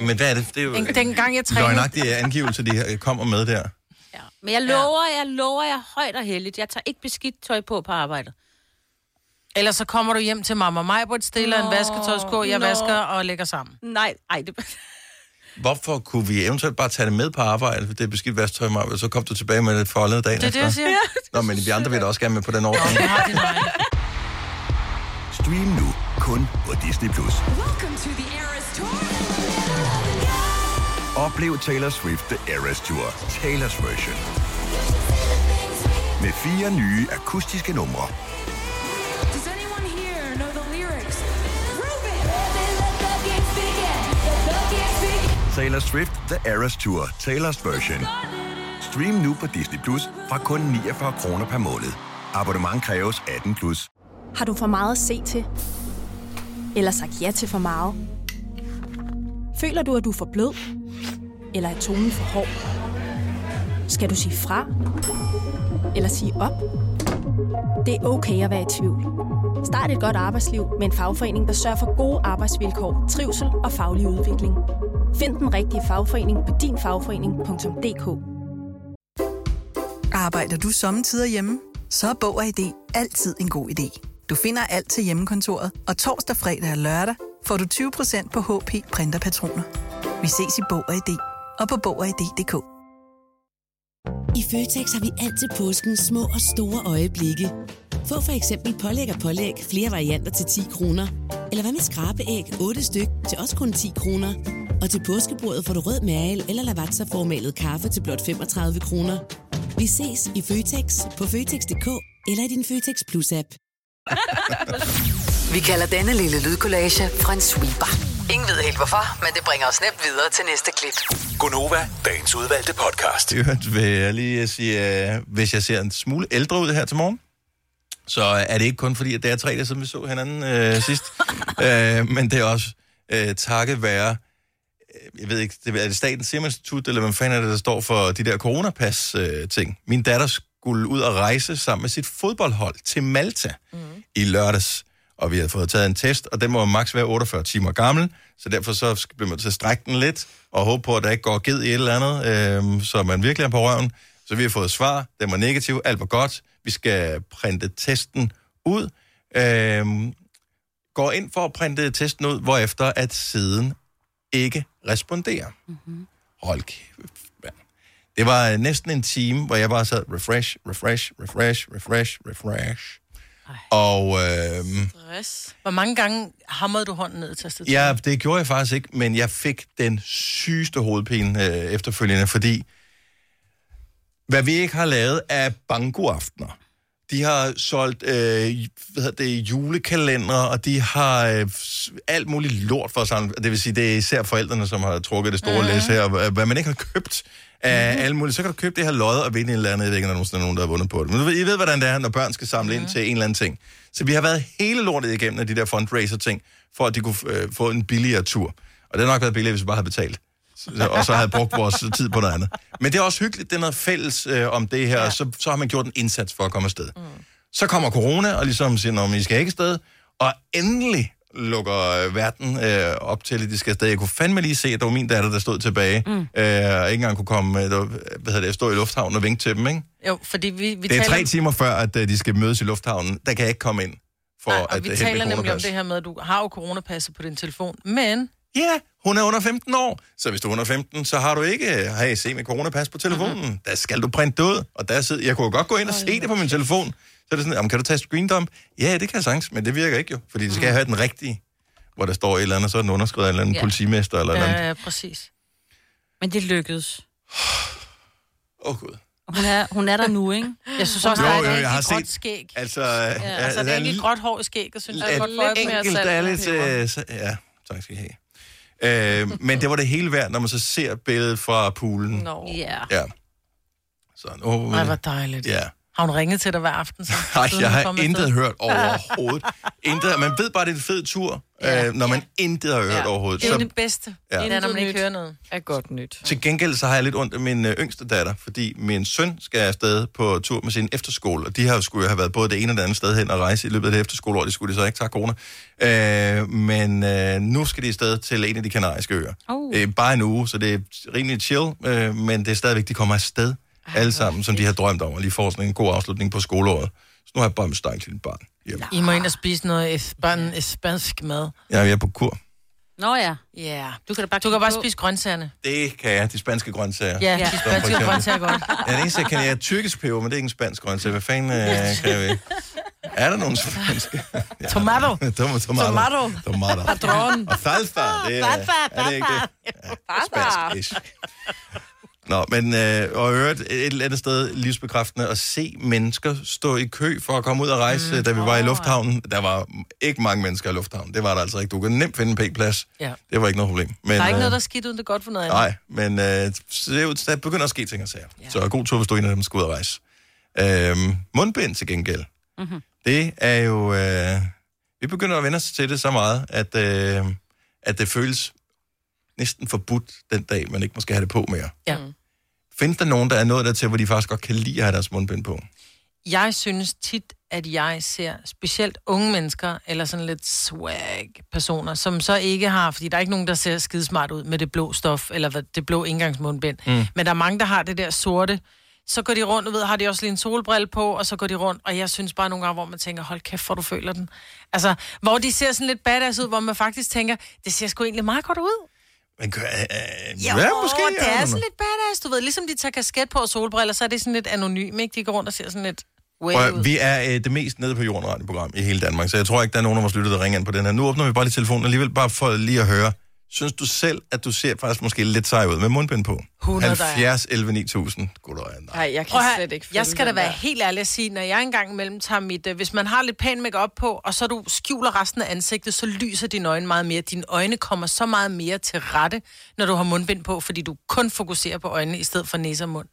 Speaker 1: Men hvad er det? Det er jo
Speaker 3: Den, den gang jeg trænede,
Speaker 1: løgnagtige angivelse, de øh, kommer med der.
Speaker 2: Men jeg lover, jeg lover, jeg er højt og heldigt. Jeg tager ikke beskidt tøj på på arbejdet.
Speaker 3: Ellers så kommer du hjem til mamma og mig, hvor stiller en vasketøjsko, jeg
Speaker 2: nå.
Speaker 3: vasker og lægger sammen.
Speaker 2: Nej, ej, det...
Speaker 1: Hvorfor kunne vi eventuelt bare tage det med på arbejde, for det er beskidt vasktøj, Maja, og så kom du tilbage med det forholdet dagen
Speaker 3: Det er det, jeg siger.
Speaker 1: Nå, men vi andre vil da også gerne med på den ordning.
Speaker 3: Jeg har din egen.
Speaker 6: Stream nu kun på Disney+. Plus. Oplev Taylor Swift The Eras Tour, Taylor's version. Med fire nye akustiske numre. Taylor Swift The Eras Tour, Taylor's version. Stream nu på Disney Plus fra kun 49 kroner per måned. Abonnement kræves 18 plus.
Speaker 7: Har du for meget at se til? Eller sagt ja til for meget? Føler du, at du er for blød? Eller er tonen for hård? Skal du sige fra? Eller sige op? Det er okay at være i tvivl. Start et godt arbejdsliv med en fagforening, der sørger for gode arbejdsvilkår, trivsel og faglig udvikling. Find den rigtige fagforening på dinfagforening.dk.
Speaker 8: Arbejder du sommetider hjemme? Så er Bog og ID altid en god idé. Du finder alt til hjemmekontoret, og torsdag, fredag og lørdag får du 20% på HP Printerpatroner. Vi ses i Bog og ID og på Bog og ID.dk.
Speaker 9: I Føtex har vi altid påsken små og store øjeblikke. Få for eksempel pålæg og pålæg flere varianter til 10 kroner. Eller hvad med skrabeæg 8 styk til også kun 10 kroner. Og til påskebordet får du rød mal eller lavatserformalet kaffe til blot 35 kroner. Vi ses i Føtex på Føtex.dk eller i din Føtex Plus-app.
Speaker 5: Vi kalder denne lille lydkollage en sweeper. Ingen ved helt hvorfor, men det bringer os nemt videre til næste klip.
Speaker 6: Gonova, dagens udvalgte podcast.
Speaker 1: I øvrigt vil jeg lige sige, øh, hvis jeg ser en smule ældre ud her til morgen, så er det ikke kun fordi, at det er tre dage siden, vi så hinanden øh, sidst, øh, men det er også øh, takket være jeg ved ikke, det- er det Statens Serum Institut, eller hvem fanden er det, der står for de der coronapas-ting? Min datter skulle ud og rejse sammen med sit fodboldhold til Malta mm. i lørdags, og vi havde fået taget en test, og den må maks være 48 timer gammel, så derfor så sk- bliver man til at strække den lidt, og håbe på, at der ikke går ged i et eller andet, øh, så man virkelig er på røven. Så vi har fået svar, den var negativ, alt var godt, vi skal printe testen ud, øh, går ind for at printe testen ud, hvorefter at siden ikke responderer. Mm-hmm. Hold kæft, mand. Det var øh, næsten en time, hvor jeg bare sad refresh, refresh, refresh, refresh, refresh. Og øh,
Speaker 4: Stress.
Speaker 3: Hvor mange gange hamrede du hånden ned i tastet?
Speaker 1: ja, det gjorde jeg faktisk ikke, men jeg fik den sygeste hovedpine øh, efterfølgende, fordi hvad vi ikke har lavet er bankoaftener. De har solgt øh, hvad hedder det, julekalendere, og de har øh, s- alt muligt lort for sammen. Det vil sige, det er især forældrene, som har trukket det store mm. læs her. og Hvad man ikke har købt af mm. alt muligt. Så kan du købe det her lod og vinde en eller anden. Jeg ved ikke, om der nogensinde er nogen, der har vundet på det. Men du ved- I ved, hvordan det er, når børn skal samle mm. ind til en eller anden ting. Så vi har været hele lortet igennem af de der fundraiser-ting, for at de kunne øh, få en billigere tur. Og det har nok været billigere, hvis vi bare havde betalt. Så- og så havde brugt vores tid på noget andet. Men det er også hyggeligt, det er noget fælles øh, om det her, ja. og så, så har man gjort en indsats for at komme afsted. Mm. Så kommer corona, og ligesom siger, at I skal ikke afsted, og endelig lukker øh, verden øh, op til, at de skal afsted. Jeg kunne fandme lige se, at det var min datter, der stod tilbage, mm. øh, og ikke engang kunne komme, øh, der, var- hvad hedder det, stå i lufthavnen og vinke til dem, ikke?
Speaker 3: Jo, fordi vi, vi
Speaker 1: det er
Speaker 3: taler,
Speaker 1: tre timer før, at øh, de skal mødes i lufthavnen. Der kan jeg ikke komme ind for
Speaker 3: Nej,
Speaker 1: at øh,
Speaker 3: og vi
Speaker 1: hente
Speaker 3: taler
Speaker 1: min
Speaker 3: nemlig om
Speaker 1: coronapas.
Speaker 3: det her med, at du har jo coronapasset på din telefon, men
Speaker 1: Ja, hun er under 15 år. Så hvis du er under 15, så har du ikke, øh, hey, se med coronapas på telefonen. Mm-hmm. Der skal du printe det ud. Og der sidder, jeg kunne jo godt gå ind og se det på min telefon. Så er det sådan, jamen, kan du tage screendump? Ja, det kan jeg sagtens, men det virker ikke jo. Fordi det skal jeg have den rigtige, hvor der står et eller andet, så er den underskrevet af en eller anden
Speaker 2: Ja.
Speaker 1: politimester
Speaker 3: Øh,
Speaker 1: eller et eller andet.
Speaker 3: ja, præcis.
Speaker 2: Men det lykkedes.
Speaker 1: Åh, oh, Gud.
Speaker 2: Og Hun er, hun er der nu, ikke?
Speaker 3: Jeg synes også,
Speaker 1: Jo,
Speaker 3: der er
Speaker 1: jo, jeg
Speaker 3: et
Speaker 1: har
Speaker 3: enkelt gråt
Speaker 1: set-
Speaker 3: skæg.
Speaker 1: Altså, øh, ja,
Speaker 3: Altså, et enkelt gråt hår i skægget, synes jeg.
Speaker 4: Ja.
Speaker 3: er
Speaker 4: godt
Speaker 3: godt.
Speaker 4: fløjte med at
Speaker 1: enkelt,
Speaker 4: salte
Speaker 1: der er
Speaker 4: med
Speaker 1: lidt...
Speaker 4: peber.
Speaker 1: Øh, så, ja, tak skal I have. Øh, men det var det hele værd, når man så ser billedet fra poolen.
Speaker 4: Nå.
Speaker 2: Ja.
Speaker 1: Ja. Så nu...
Speaker 3: Nej, hvor dejligt.
Speaker 1: Ja.
Speaker 3: Har hun ringet til dig hver aften? Så,
Speaker 1: Nej,
Speaker 3: siden
Speaker 1: jeg
Speaker 3: hun
Speaker 1: har
Speaker 3: kom afsted?
Speaker 1: intet hørt overhovedet. intet, man ved bare, det er en fed tur, ja. øh, når man intet har hørt ja. overhovedet.
Speaker 3: Det er jo
Speaker 1: Så,
Speaker 3: det bedste.
Speaker 1: Ja.
Speaker 3: Ja. Det er, når man
Speaker 4: Intet
Speaker 3: ikke
Speaker 4: nyt.
Speaker 3: hører noget.
Speaker 4: Er godt nyt.
Speaker 1: til gengæld så har jeg lidt ondt af min øh, yngste datter, fordi min søn skal afsted på tur med sin efterskole, og de har jo skulle jo have været både det ene og det andet sted hen og rejse i løbet af det efterskoleår, det skulle de så ikke, tak corona. Øh, men øh, nu skal de afsted til en af de kanariske øer.
Speaker 2: Oh.
Speaker 1: Øh, bare en uge, så det er rimelig chill, øh, men det er stadigvæk, de kommer afsted alle sammen, som de har drømt om, og lige får sådan en god afslutning på skoleåret. Så nu har jeg bare en stang til en barn. Yep.
Speaker 3: I må ind og spise noget espan- spansk mad.
Speaker 1: Jeg er på kur.
Speaker 2: Nå ja.
Speaker 3: Ja. Yeah.
Speaker 2: Du kan da bare
Speaker 3: Du kan
Speaker 2: kigge
Speaker 3: bare
Speaker 2: på.
Speaker 3: spise grøntsagerne.
Speaker 1: Det kan jeg, de spanske grøntsager.
Speaker 3: Ja,
Speaker 2: Ja.
Speaker 3: de
Speaker 1: Som for
Speaker 3: spanske
Speaker 1: eksempel-
Speaker 3: grøntsager er godt.
Speaker 1: Ja, det eneste, jeg kan, jeg er tyrkisk peber, men det er ikke en spansk grøntsag. Hvad fanden øh, kan jeg ikke? Er der nogen spanske? Ja.
Speaker 3: Tomato.
Speaker 1: Tomato. Tomato. Tomato. Padron. Og falfa. Det er, er det ikke det? Spansk Nå, men øh, og i øvrigt et eller andet sted livsbekræftende at se mennesker stå i kø for at komme ud og rejse, mm. da vi var i lufthavnen. Der var ikke mange mennesker i lufthavnen. Det var der altså ikke. Du kunne nemt finde en p-plads.
Speaker 3: Ja.
Speaker 1: Det var ikke noget problem. Men, øh,
Speaker 3: Der er ikke noget, der er skidt uden det er godt for noget andet.
Speaker 1: Nej, men øh, så det er jo- der begynder at ske ting og sager. Ja. Så god tur, hvis du er en af dem, der skal ud og rejse. Øhm, mundbind til gengæld. Mm-hmm. Det er jo... Øh, vi begynder at vende os til det så meget, at, øh, at det føles næsten forbudt den dag, man ikke måske have det på mere.
Speaker 3: Ja.
Speaker 2: Mm.
Speaker 1: Findes der nogen, der er nået dertil, hvor de faktisk godt kan lide at have deres mundbind på?
Speaker 3: Jeg synes tit, at jeg ser specielt unge mennesker, eller sådan lidt swag-personer, som så ikke har, fordi der er ikke nogen, der ser skidesmart ud med det blå stof, eller hvad- det blå indgangsmundbind. Mm. Men der er mange, der har det der sorte. Så går de rundt, og ved, har de også lige en solbrille på, og så går de rundt, og jeg synes bare nogle gange, hvor man tænker, hold kæft, hvor du føler den. Altså, hvor de ser sådan lidt badass ud, hvor man faktisk tænker, det ser sgu egentlig meget godt ud.
Speaker 1: Man kan, øh,
Speaker 3: Jo,
Speaker 1: ja, måske.
Speaker 3: det
Speaker 1: I don't
Speaker 3: er
Speaker 1: know.
Speaker 3: sådan lidt badass, du ved. Ligesom de tager kasket på og solbriller, så er det sådan lidt anonym, ikke? De går rundt og ser sådan lidt way
Speaker 1: Prøv, at
Speaker 3: ud.
Speaker 1: høre, vi er øh, det mest nede på jorden radio program i hele Danmark, så jeg tror ikke, der er nogen af vores lytter, der ringer ind på den her. Nu åbner vi bare lige telefonen alligevel, bare for lige at høre. Synes du selv, at du ser faktisk måske lidt sej ud med mundbind på?
Speaker 3: 100 der er.
Speaker 1: 70 11 9000. Goddag, nej.
Speaker 4: Nej, jeg kan
Speaker 3: Prøv at høre,
Speaker 4: slet ikke
Speaker 3: jeg
Speaker 4: følge
Speaker 3: skal da
Speaker 4: den
Speaker 3: være
Speaker 4: der.
Speaker 3: helt ærlig at sige, når jeg engang imellem tager mit... Øh, hvis man har lidt pæn make op på, og så du skjuler resten af ansigtet, så lyser dine øjne meget mere. Dine øjne kommer så meget mere til rette, når du har mundbind på, fordi du kun fokuserer på øjnene i stedet for næse og mund.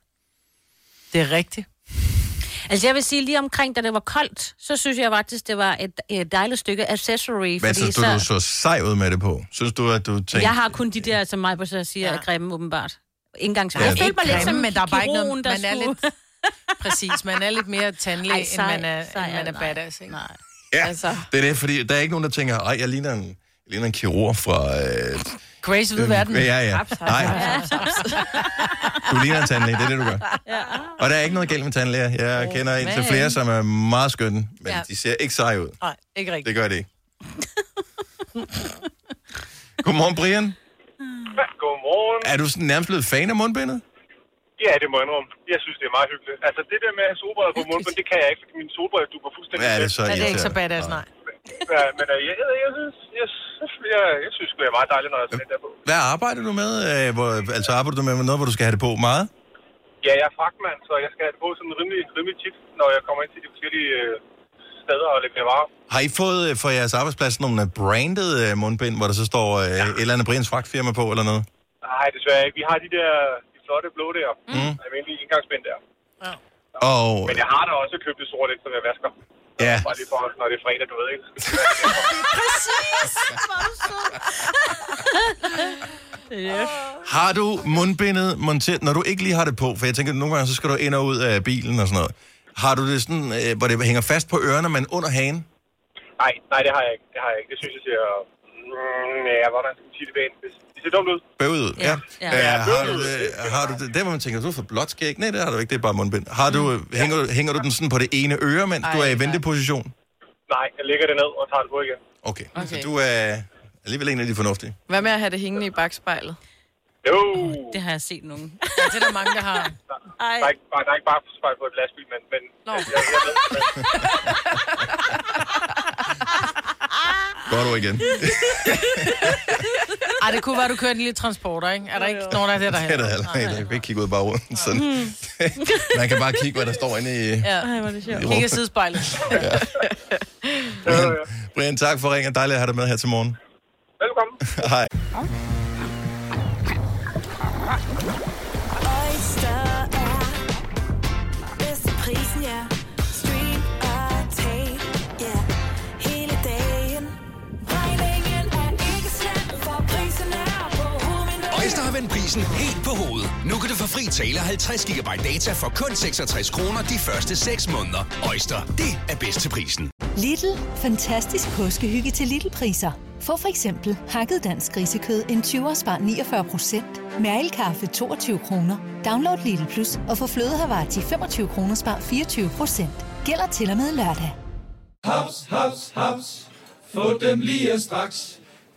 Speaker 3: Det er rigtigt.
Speaker 2: Altså jeg vil sige, lige omkring, da det var koldt, så synes jeg faktisk, det var et, et dejligt stykke accessory.
Speaker 1: Hvad synes du, du så sej ud med det på? Synes du, at du tænkte...
Speaker 2: jeg har kun de der, som mig på så siger, ja. er grimme åbenbart. Indgangs.
Speaker 1: Ja.
Speaker 2: Jeg følte mig lidt
Speaker 3: Grimme,
Speaker 2: som
Speaker 3: men der er bare ikke noget-
Speaker 2: kirurgen, der
Speaker 3: man er
Speaker 2: skulle-
Speaker 3: Præcis, man er lidt mere tandlæge,
Speaker 2: Ej,
Speaker 3: end
Speaker 2: sej,
Speaker 3: man er,
Speaker 2: sej
Speaker 3: end man
Speaker 2: er
Speaker 3: er
Speaker 2: det,
Speaker 3: badass, ikke? Nej.
Speaker 1: Ja,
Speaker 4: altså.
Speaker 1: det er det, fordi der er ikke nogen, der tænker, ej, jeg ligner en, jeg ligner en kirurg fra... Øh,
Speaker 3: Grace ved
Speaker 1: øh,
Speaker 3: verden.
Speaker 1: Ja, ja. Nej, du ligner en tandlæge, det er det, du gør. Og der er ikke noget galt med tandlæger. Jeg kender en til
Speaker 3: men-
Speaker 1: flere, som er meget skønne, men
Speaker 3: Ja.
Speaker 1: de ser ikke seje ud.
Speaker 3: Nej, ikke rigtigt.
Speaker 1: Det gør det ikke. Godmorgen, Brian.
Speaker 10: Godmorgen.
Speaker 1: Er du sådan nærmest blevet fan af mundbindet?
Speaker 10: Ja, det må jeg indrømme. Jeg synes, det er meget hyggeligt. Altså, det der med at have solbriller på munden, det kan jeg ikke, fordi mine solbriller duper fuldstændig.
Speaker 1: Hvad er det så?
Speaker 10: til.
Speaker 3: Ja, det er ikke så
Speaker 1: irriterende?
Speaker 3: badass, nej.
Speaker 10: Ja, men øh, jeg, jeg, jeg, synes, jeg, jeg, jeg synes, sgu, det er meget dejligt, når jeg har sådan en der på.
Speaker 1: Hvad arbejder du med? Øh, Hvor, altså arbejder du med noget, hvor du skal have det på meget?
Speaker 10: Ja, jeg er fragtmand, så jeg skal have det på sådan rimelig, rimelig tit, når jeg kommer ind til de forskellige øh, steder og leverer varer.
Speaker 1: Har I fået øh, for jeres arbejdsplads nogle øh, branded øh, mundbind, hvor der så står øh, et eller andet Brians fragtfirma på eller noget?
Speaker 10: Nej, desværre ikke. Vi har de der de flotte blå der.
Speaker 1: Mm.
Speaker 10: Almindelige indgangsbind der.
Speaker 1: Og
Speaker 10: Men jeg har da også købt det sorte, som jeg vasker.
Speaker 1: ja,
Speaker 10: Bare lige for, når det er fredag, du ved ikke.
Speaker 2: Præcis! Hvor er du sød.
Speaker 1: har du mundbindet monteret, når du ikke lige har det på? For jeg tænker, nogle gange så skal du ind og ud af bilen og sådan noget. Har du det sådan, øh, hvor det hænger fast på ørerne, men under hagen?
Speaker 10: Nej, nej, det har jeg ikke. Det har jeg ikke. Det synes jeg ser... Mm, ja, hvordan skal man sige det pænt? Det- Det ser dumt ud.
Speaker 1: Bøvet ud, ja.
Speaker 2: Ja.
Speaker 1: Øh, har, du det, har du det, der hvor man tænker, du har fået blåt skæg? Nej, det har du ikke, det er bare mundbind. Har du, øh, hænger, du, hænger du den sådan på det ene øre, mens du er i venteposition?
Speaker 10: Nej, jeg lægger det ned og tager det på igen.
Speaker 1: Okay, okay.
Speaker 4: Okay.
Speaker 1: så du er alligevel en af de fornuftige.
Speaker 4: Hvad med at have det hængende i bagspejlet?
Speaker 10: Jo,
Speaker 2: Det har jeg set nogen.
Speaker 3: Ja, det er der mange, der har.
Speaker 2: Ej,
Speaker 10: der er ikke bare, der er ikke bare spejl på et lastbil, men, men
Speaker 4: Nå.
Speaker 10: jeg, jeg ved,
Speaker 1: Går du igen?
Speaker 3: Ej, det kunne være, du kørte en lille transporter, ikke? Er der ikke nogen af det, der
Speaker 1: Det er der heller ikke. Jeg kan ikke kigge ud bare rundt. Sådan. Man kan bare kigge, hvad der står inde i,
Speaker 3: Ja.
Speaker 4: Ej, hvor er det sjovt.
Speaker 1: i
Speaker 3: Kigger
Speaker 1: rummet.
Speaker 3: sidespejlet.
Speaker 1: Brian, Brian, tak for ringen. Dejligt at have dig med her til morgen.
Speaker 10: velkommen.
Speaker 1: Hej.
Speaker 11: Oyster er bedst til prisen, ja. Stream og tag, ja. Hele dagen. Regningen er ikke slem, for prisen er på
Speaker 12: Øjster har vendt prisen helt på hovedet. Nu kan du få fri tale 50 GB data for kun 66 kroner de første 6 måneder. Øjster, det er bedst til prisen.
Speaker 13: Lidl. Fantastisk påskehygge til Lidl-priser. Få for eksempel hakket dansk grisekød en 20 spar 49 Mærelkaffe 22 kroner. Download Lidl Plus og få flødehavar til 25 kroner spar 24 Gælder til og med lørdag.
Speaker 14: Haps, haps, haps. Få dem lige straks.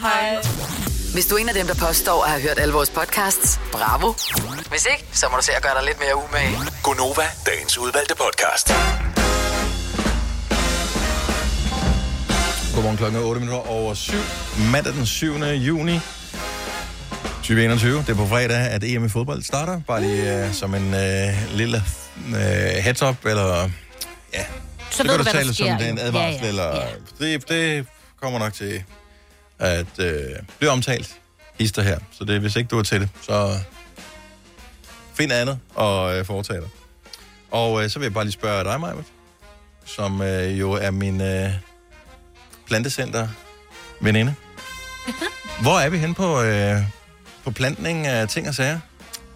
Speaker 5: Hej. Hvis du er en af dem, der påstår at have hørt alle vores podcasts, bravo. Hvis ikke, så må du se at gøre dig lidt mere umage.
Speaker 12: Gonova, dagens udvalgte podcast.
Speaker 1: Godmorgen klokken er 8 minutter over 7. Mandag den 7. juni 2021. Det er på fredag, at EM i fodbold starter. Bare lige uh, som en uh, lille uh, heads-up, eller... Ja.
Speaker 2: Så
Speaker 1: det kan
Speaker 2: ved du, hvad der
Speaker 1: tale
Speaker 2: sker,
Speaker 1: som det er en
Speaker 2: jo.
Speaker 1: advarsel,
Speaker 2: Ja, ja,
Speaker 1: eller... Det, det kommer nok til at uh, blive omtalt hister her. Så det, hvis ikke du er til det, så find andet og uh, foretage dig. Og uh, så vil jeg bare lige spørge dig, Maja, som uh, jo er min... Uh, plantecenter veninde. Hvor er vi henne på, øh, på plantning af ting og sager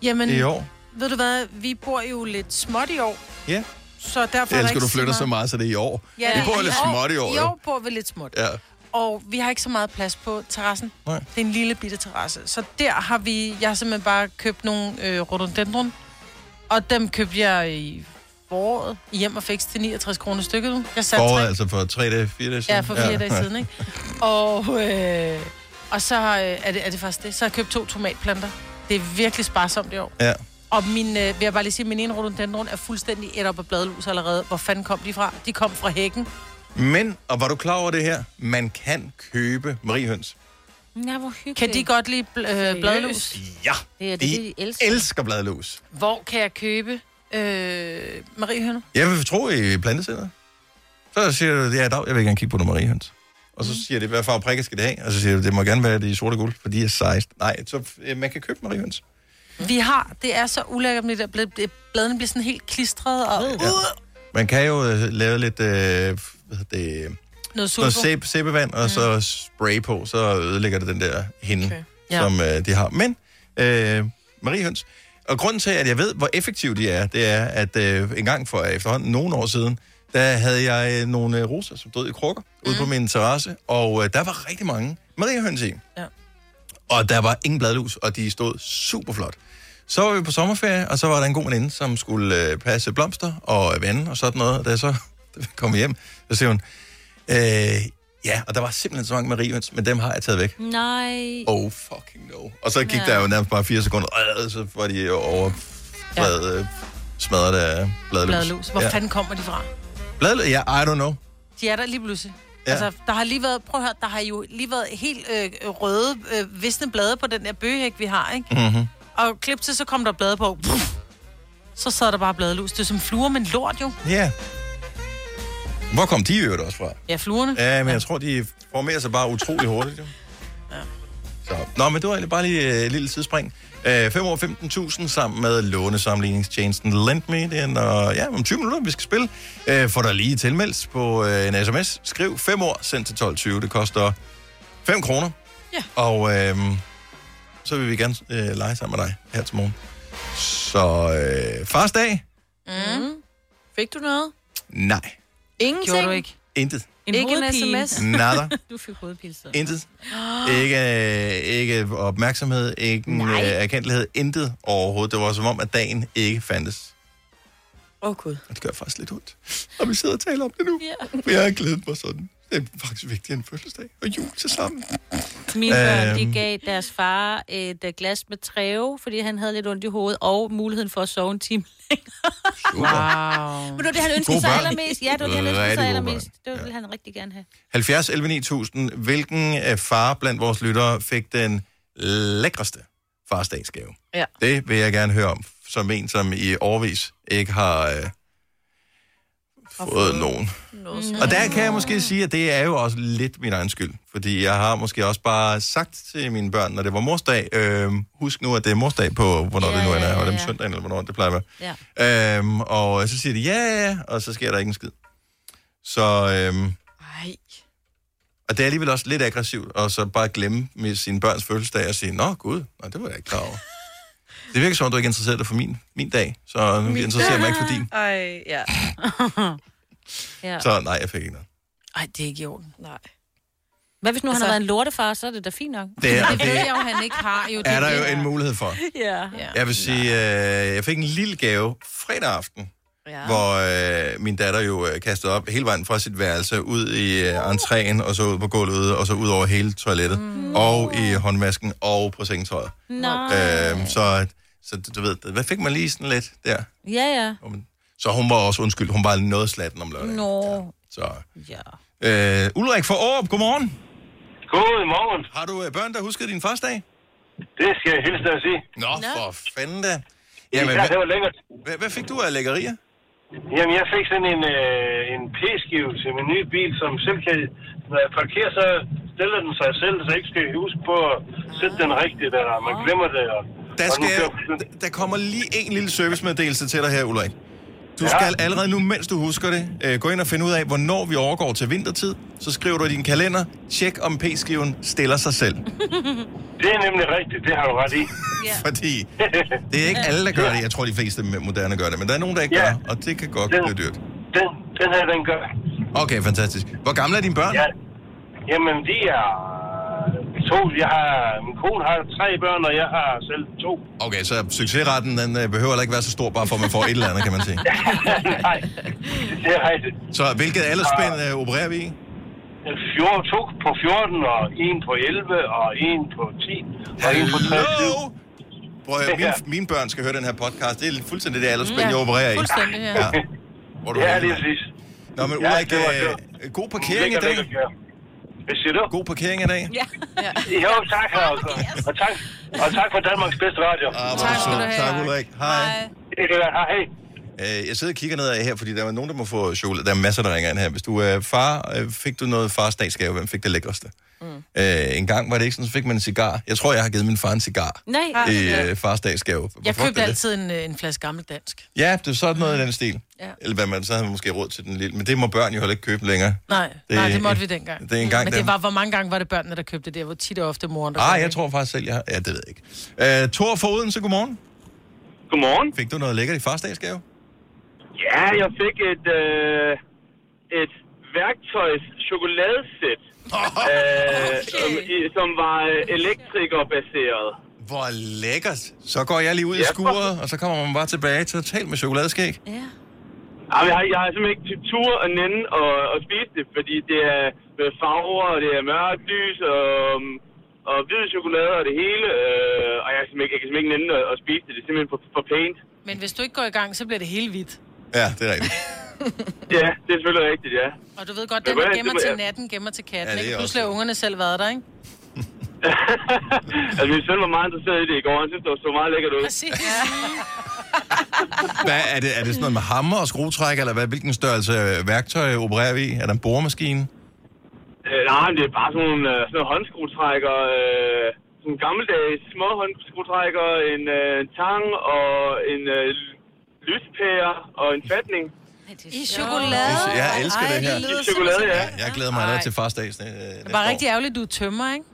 Speaker 3: Jamen,
Speaker 1: i år?
Speaker 3: ved du hvad, vi bor jo lidt småt i år,
Speaker 1: Ja.
Speaker 3: så derfor
Speaker 1: Jeg
Speaker 3: er der
Speaker 1: elsker,
Speaker 3: ikke
Speaker 1: du flytter så
Speaker 3: meget-
Speaker 1: meget, så det er i år. vi bor lidt småt i år.
Speaker 3: I
Speaker 1: jo.
Speaker 3: år bor vi lidt småt.
Speaker 1: Ja.
Speaker 3: Og vi har ikke så meget plads på terrassen.
Speaker 1: Nej.
Speaker 3: Det er en lille bitte terrasse. Så der har vi... Jeg har simpelthen bare købt nogle øh, rhododendron. Og dem købte jeg i foråret i hjem og fix til 69 kroner stykket. nu. Jeg satte
Speaker 1: Foråret,
Speaker 3: tre.
Speaker 1: altså for tre dage, fire dage siden.
Speaker 3: Ja, for fire ja. dage siden, ikke? Og, øh, og så har, øh, er, det, er det faktisk det. Så har jeg købt to tomatplanter. Det er virkelig sparsomt i år.
Speaker 1: Ja.
Speaker 3: Og min, øh, vil jeg bare lige sige, min ene rhododendron er fuldstændig et op af bladlus allerede. Hvor fanden kom de fra? De kom fra hækken.
Speaker 1: Men, og var du klar over det her? Man kan købe mariehøns.
Speaker 2: Ja, hvor hyggeligt.
Speaker 3: Kan de godt lide bl- øh, bladlus?
Speaker 1: Ja,
Speaker 3: Det er det,
Speaker 1: de
Speaker 3: de elsker.
Speaker 1: elsker bladlus.
Speaker 3: Hvor kan jeg købe øh, mariehønner?
Speaker 1: Jeg vil tro i plantecenteret. Så siger du, ja, dag, jeg vil gerne kigge på nogle mariehøns. Og så siger de, hvad farve prikker skal det have? Og så siger du, det må gerne være de sorte og guld, for de er sejst. Nej, så øh, man kan købe mariehøns.
Speaker 3: Vi har, det er så ulækkert med det der blad, det- bladene bliver sådan helt klistret og ja.
Speaker 1: Man kan jo øh, lave lidt, øh, hvad hedder det,
Speaker 3: noget
Speaker 1: noget
Speaker 3: sulfo. Mm.
Speaker 1: sæbe, sæbevand, og så spray på, så ødelægger det den der hinde, okay.
Speaker 3: Ja.
Speaker 1: som øh, de har. Men, øh, Mariehøns, og grunden til, at jeg ved, hvor effektive de er, det er, at øh, en gang for efterhånden nogle år siden, der havde jeg øh, nogle øh, roser, som døde i krukker, mm. ude på min terrasse, og øh, der var rigtig mange Mariehøns i.
Speaker 3: Ja.
Speaker 1: Og der var ingen bladlus, og de stod super flot. Så var vi på sommerferie, og så var der en god veninde, som skulle øh, passe blomster og øh, vande og sådan noget. Og da jeg så kom hjem, så siger hun, øh, ja, og der var simpelthen så mange mariehøns, men dem har jeg taget væk.
Speaker 2: Nej.
Speaker 1: Oh, fucking no. Og så gik
Speaker 2: Ja.
Speaker 1: ja. der jo nærmest bare fire sekunder, og øh, så var de over ja. smadret af bladlus.
Speaker 3: Bladlus. Hvor ja. fanden kommer de fra?
Speaker 1: Bladlus, ja, I don't know.
Speaker 3: De er der lige pludselig. Ja.
Speaker 1: Ja.
Speaker 3: Altså, der har lige været, prøv at høre, der har jo lige været helt øh, røde, øh, visne blade på den der bøgehæk, vi har, ikke?
Speaker 1: Mm-hmm.
Speaker 3: Og klip til, så kom der blade på. Puff! Så sad der bare bladlus. Det er som fluer, men lort jo.
Speaker 1: Ja. Hvor kom de i øvrigt også fra?
Speaker 3: Ja, fluerne.
Speaker 1: Ja, men jeg tror, de formerer sig bare utrolig hurtigt. Jo. Så. Nå, men det var egentlig bare lige øh, et lille tidsspring. Øh, 5 år 15.000 sammen med lånesamligningstjenesten LendMe. Det er når, ja, om 20 minutter, vi skal spille. Øh, får dig lige tilmeldt på øh, en sms. Skriv 5 år, send til 12.20. Det koster 5 kroner.
Speaker 3: Ja.
Speaker 1: Og øh, så vil vi gerne øh, lege sammen med dig her til morgen. Så øh, fars dag?
Speaker 4: Mm. Fik du noget?
Speaker 1: Nej,
Speaker 4: Ingenting?
Speaker 1: Gjorde du ikke? intet.
Speaker 4: En ikke en sms?
Speaker 1: Nada.
Speaker 2: du fik hovedpine. så.
Speaker 1: Intet. Ikke, øh, ikke opmærksomhed, ikke øh, erkendelighed, intet overhovedet. Det var som om, at dagen ikke fandtes.
Speaker 4: Åh, oh, Gud.
Speaker 1: Og det gør faktisk lidt ondt. Og vi sidder og taler om det nu.
Speaker 2: Ja.
Speaker 1: For jeg har glædet mig sådan. Det er faktisk vigtigere end fødselsdag og jul til sammen.
Speaker 2: Mine børn,
Speaker 1: Øhm.
Speaker 2: de gav deres far et øh, glas med træve, fordi han havde lidt ondt i hovedet, og muligheden for at sove en time
Speaker 3: Wow.
Speaker 2: Men det var det, han ønskede
Speaker 1: Gode
Speaker 2: sig
Speaker 1: børn.
Speaker 2: allermest. Ja, det var det, han ønskede
Speaker 1: Rigtig
Speaker 2: sig
Speaker 1: gode
Speaker 2: allermest. Det ville han rigtig gerne have.
Speaker 1: 70 11 9000. Hvilken øh, far blandt vores lyttere fik den lækreste farsdagsgave?
Speaker 4: Ja.
Speaker 1: Det vil jeg gerne høre om, som en, som i årvis ikke har øh, fået nogen. Og der kan jeg måske sige, at det er jo også lidt min egen skyld. Fordi jeg har måske også bare sagt til mine børn, når det var morsdag, øh, husk nu, at det er morsdag på, hvornår ja, det nu end er, og det er om søndagen, eller hvornår det plejer at
Speaker 2: Ja.
Speaker 1: være. Øhm, og så siger de ja, ja, ja, og så sker der ikke en skid. Så, øhm,
Speaker 4: Ej.
Speaker 1: og det er alligevel også lidt aggressivt, og så bare glemme med sine børns fødselsdag og sige, nå gud, nej, det var jeg ikke klar over. det virker som om, du ikke interesserer dig for min, min dag, så nu interesserer jeg mig ikke for din.
Speaker 4: Ej, ja.
Speaker 2: ja.
Speaker 1: Så nej, jeg fik ikke noget.
Speaker 3: Ej, det er ikke i orden.
Speaker 4: Nej.
Speaker 2: Hvad hvis nu altså,
Speaker 3: Altså-
Speaker 2: han har været en lortefar, så er det da fint nok.
Speaker 1: Det er-
Speaker 3: Det ved jeg jo, han ikke har. Jo, det
Speaker 1: Er der
Speaker 3: det,
Speaker 1: jo en mulighed for?
Speaker 2: Ja.
Speaker 3: ja.
Speaker 1: Jeg vil sige, øh, jeg fik en lille gave fredag aften, ja. hvor øh, min datter jo øh, kastede op hele vejen fra sit værelse ud i øh, entréen, og så ud på gulvet, og så ud over hele toilettet, mm. og i håndvasken, og på sengetøjet.
Speaker 2: Nej.
Speaker 1: Øh, så, så du- du ved, hvad fik man lige sådan lidt der?
Speaker 2: Ja, ja.
Speaker 1: Så hun var også undskyld, hun var noget slatten om lørdag.
Speaker 2: Nå.
Speaker 1: Så.
Speaker 2: Ja.
Speaker 1: Øh, Ulrik fra Aarup, godmorgen.
Speaker 10: Godmorgen.
Speaker 1: Har du øh, børn, der husker din første dag?
Speaker 10: Det skal jeg hilse dig at sige.
Speaker 1: Nå, Nå. for fanden da.
Speaker 10: Jamen, ja,
Speaker 1: hvad,
Speaker 10: det var lækkert.
Speaker 1: hvad, hvad fik du af lækkerier?
Speaker 10: Jamen, jeg fik sådan en, øh, en p-skive til min nye bil, som selv kan... Når jeg parkerer, så stiller den sig selv, så jeg ikke skal huske på at sætte den rigtigt, eller man glemmer det. Og,
Speaker 1: Der,
Speaker 10: og den
Speaker 1: skal,
Speaker 10: kører-
Speaker 1: der kommer lige en lille servicemeddelelse til dig her, Ulrik. Du skal allerede nu, mens du husker det, øh, gå ind og finde ud af, hvornår vi overgår til vintertid. Så skriver du i din kalender, tjek om p-skiven stiller sig selv.
Speaker 10: Det er nemlig rigtigt, det har du ret i.
Speaker 1: Fordi det er ikke alle, der gør det. Jeg tror, de fleste moderne gør det, men der er nogen, der ikke
Speaker 10: Ja.
Speaker 1: gør, og det kan godt blive dyrt.
Speaker 10: Den, den her, den gør.
Speaker 1: Okay, fantastisk. Hvor gamle er dine børn?
Speaker 10: Ja. Jamen, de er to. Jeg har, min kone har tre børn, og jeg har selv to.
Speaker 1: Okay, så succesretten den øh, behøver heller ikke være så stor, bare for at man får et eller andet, kan man sige.
Speaker 10: Nej, det er rigtigt.
Speaker 1: Så hvilket aldersspænd øh, opererer vi i?
Speaker 10: 14, to på 14, og en på 11, og en på 10, og en på 23.
Speaker 1: Prøv at høre, mine, mine børn skal høre den her podcast. Det er fuldstændig det aldersspænd, jeg opererer i.
Speaker 10: Fuldstændig, ja.
Speaker 1: Hvor er du
Speaker 10: Ja,
Speaker 1: henne,
Speaker 10: lige
Speaker 1: mand?
Speaker 10: præcis.
Speaker 1: Nå, men
Speaker 10: Ja,
Speaker 1: Ulrik,
Speaker 10: det var-
Speaker 1: øh,
Speaker 10: det
Speaker 1: god parkering
Speaker 10: Lækker,
Speaker 1: i dag.
Speaker 10: lækker, ja. Hvad siger du?
Speaker 1: God parkering i dag.
Speaker 10: Ja. jo, tak, altså. Og tak, og tak for Danmarks bedste radio.
Speaker 1: tak skal Ah, du have, Tak, Ulrik. Ulrik. Hej.
Speaker 10: Hej.
Speaker 1: Øh, Jeg sidder og kigger nedad her, fordi der er nogen, der må få chokolade. Der er masser, der ringer ind her. Hvis du er far, øh, fik du noget fars dagsgave? Hvem fik det lækreste? Mm. Øh, en gang var det ikke sådan, så fik man en cigar. Jeg tror, jeg har givet min far en cigar
Speaker 3: Nej.
Speaker 1: i øh, fars dagsgave.
Speaker 3: Jeg
Speaker 1: Hvorfor
Speaker 3: købte
Speaker 1: det?
Speaker 3: altid en, øh, en flaske gammel dansk.
Speaker 1: Ja, det er sådan noget i den stil.
Speaker 3: Ja.
Speaker 1: Eller hvad man så havde man måske råd til den lille. Men det må børn jo heller ikke købe længere.
Speaker 3: Nej, det, nej, det måtte vi dengang.
Speaker 1: Det er engang
Speaker 3: Men
Speaker 1: dem.
Speaker 3: det var, hvor mange gange var det børnene, der købte det? Det var tit og ofte moren, der
Speaker 1: Ah,
Speaker 3: købte
Speaker 1: jeg
Speaker 3: det.
Speaker 1: tror faktisk selv, jeg har... Ja, det ved jeg ikke. Øh, Thor fra Odense, godmorgen.
Speaker 15: Godmorgen.
Speaker 1: Fik du noget lækkert i fars dagsgave?
Speaker 15: Ja, jeg fik et, øh, et værktøjs chokoladesæt, øh, som, i- som var øh, elektrikerbaseret.
Speaker 1: Hvor lækkert. Så går jeg lige ud i skuret, og så kommer man bare tilbage til at tale med chokoladeskæg.
Speaker 15: Jamen, jeg, har, jeg har simpelthen ikke tur at nænde og, og spise det, fordi det er med farver, og det er mørkt lys, og, og hvid chokolade og det hele. Øh, og jeg kan simpelthen ikke, jeg kan simpelthen ikke nænde at, at spise det. Det er simpelthen for, for pænt.
Speaker 3: Men hvis du ikke går i gang, så bliver det helt hvidt.
Speaker 1: Ja, det er rigtigt.
Speaker 15: Ja, det er selvfølgelig rigtigt, ja.
Speaker 3: Og du ved godt,
Speaker 15: Men
Speaker 3: den der
Speaker 15: hvordan-
Speaker 3: gemmer
Speaker 15: det må
Speaker 3: til
Speaker 15: jeg-
Speaker 3: natten, gemmer til
Speaker 15: Ja,
Speaker 3: katten.
Speaker 15: det
Speaker 3: Ja,
Speaker 15: er
Speaker 3: ikke?
Speaker 15: også
Speaker 3: Pludselig har ungerne selv været der, ikke?
Speaker 15: altså, min søn var meget interesseret i det i går. Han synes, det var så meget lækkert ud.
Speaker 3: Præcis.
Speaker 1: Hvad, er, det, er det sådan noget med hammer og skruetræk, eller hvad, hvilken størrelse øh, værktøj opererer vi i? Er der en boremaskine?
Speaker 15: Øh, nej, men det er bare sådan nogle, øh, sådan nogle håndskruetrækker. Øh, sådan nogle gammeldags små håndskruetrækker, en øh, tang og en øh, lyspære og en fatning.
Speaker 3: I chokolade.
Speaker 1: Jeg elsker
Speaker 3: Ej,
Speaker 1: det her.
Speaker 3: det lyder
Speaker 15: Chokolade, ja.
Speaker 1: Jeg- Jeg glæder mig allerede til farsdags. øh,
Speaker 3: Det
Speaker 1: næste
Speaker 3: var
Speaker 1: år.
Speaker 3: rigtig ærgerligt, du er tømmer, ikke?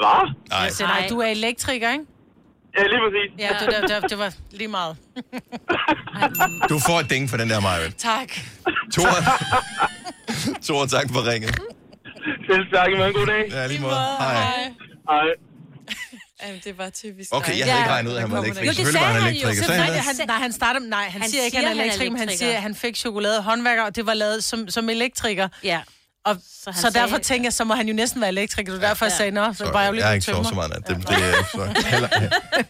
Speaker 15: Hvad?
Speaker 1: Nej.
Speaker 3: Så nej, du er elektriker, ikke?
Speaker 15: Ja, lige præcis.
Speaker 3: Ja, det, det, det, det var lige meget.
Speaker 1: Du får et ding for den der, Maja.
Speaker 3: Tak.
Speaker 1: Tor, Tor, tak for ringet.
Speaker 15: Selv tak, men god dag.
Speaker 1: Ja, lige måde. Hej.
Speaker 15: Hej.
Speaker 4: Jamen, det var typisk
Speaker 1: Okay, jeg havde ikke regnet ud, at han var elektriker.
Speaker 3: Jo, det
Speaker 1: Selvfølgelig
Speaker 3: sagde
Speaker 1: var han
Speaker 3: han jo.
Speaker 1: elektriker. Sagde
Speaker 3: Nej,
Speaker 1: han det?
Speaker 3: han, nej, han starter, nej, han, han siger ikke, han er elektriker, men han siger, at han fik chokolade og håndværker, og det var lavet som, som elektriker.
Speaker 2: Ja.
Speaker 3: Og, så,
Speaker 2: han
Speaker 3: så derfor
Speaker 2: sagde-
Speaker 3: tænker jeg, så må han jo næsten være elektriker. Det var derfor, jeg sagde, nå, så var jeg jo lidt
Speaker 1: jeg har
Speaker 3: en
Speaker 1: ikke sovet
Speaker 3: tømmer.
Speaker 1: så meget nat. Det, det, er, så, heller,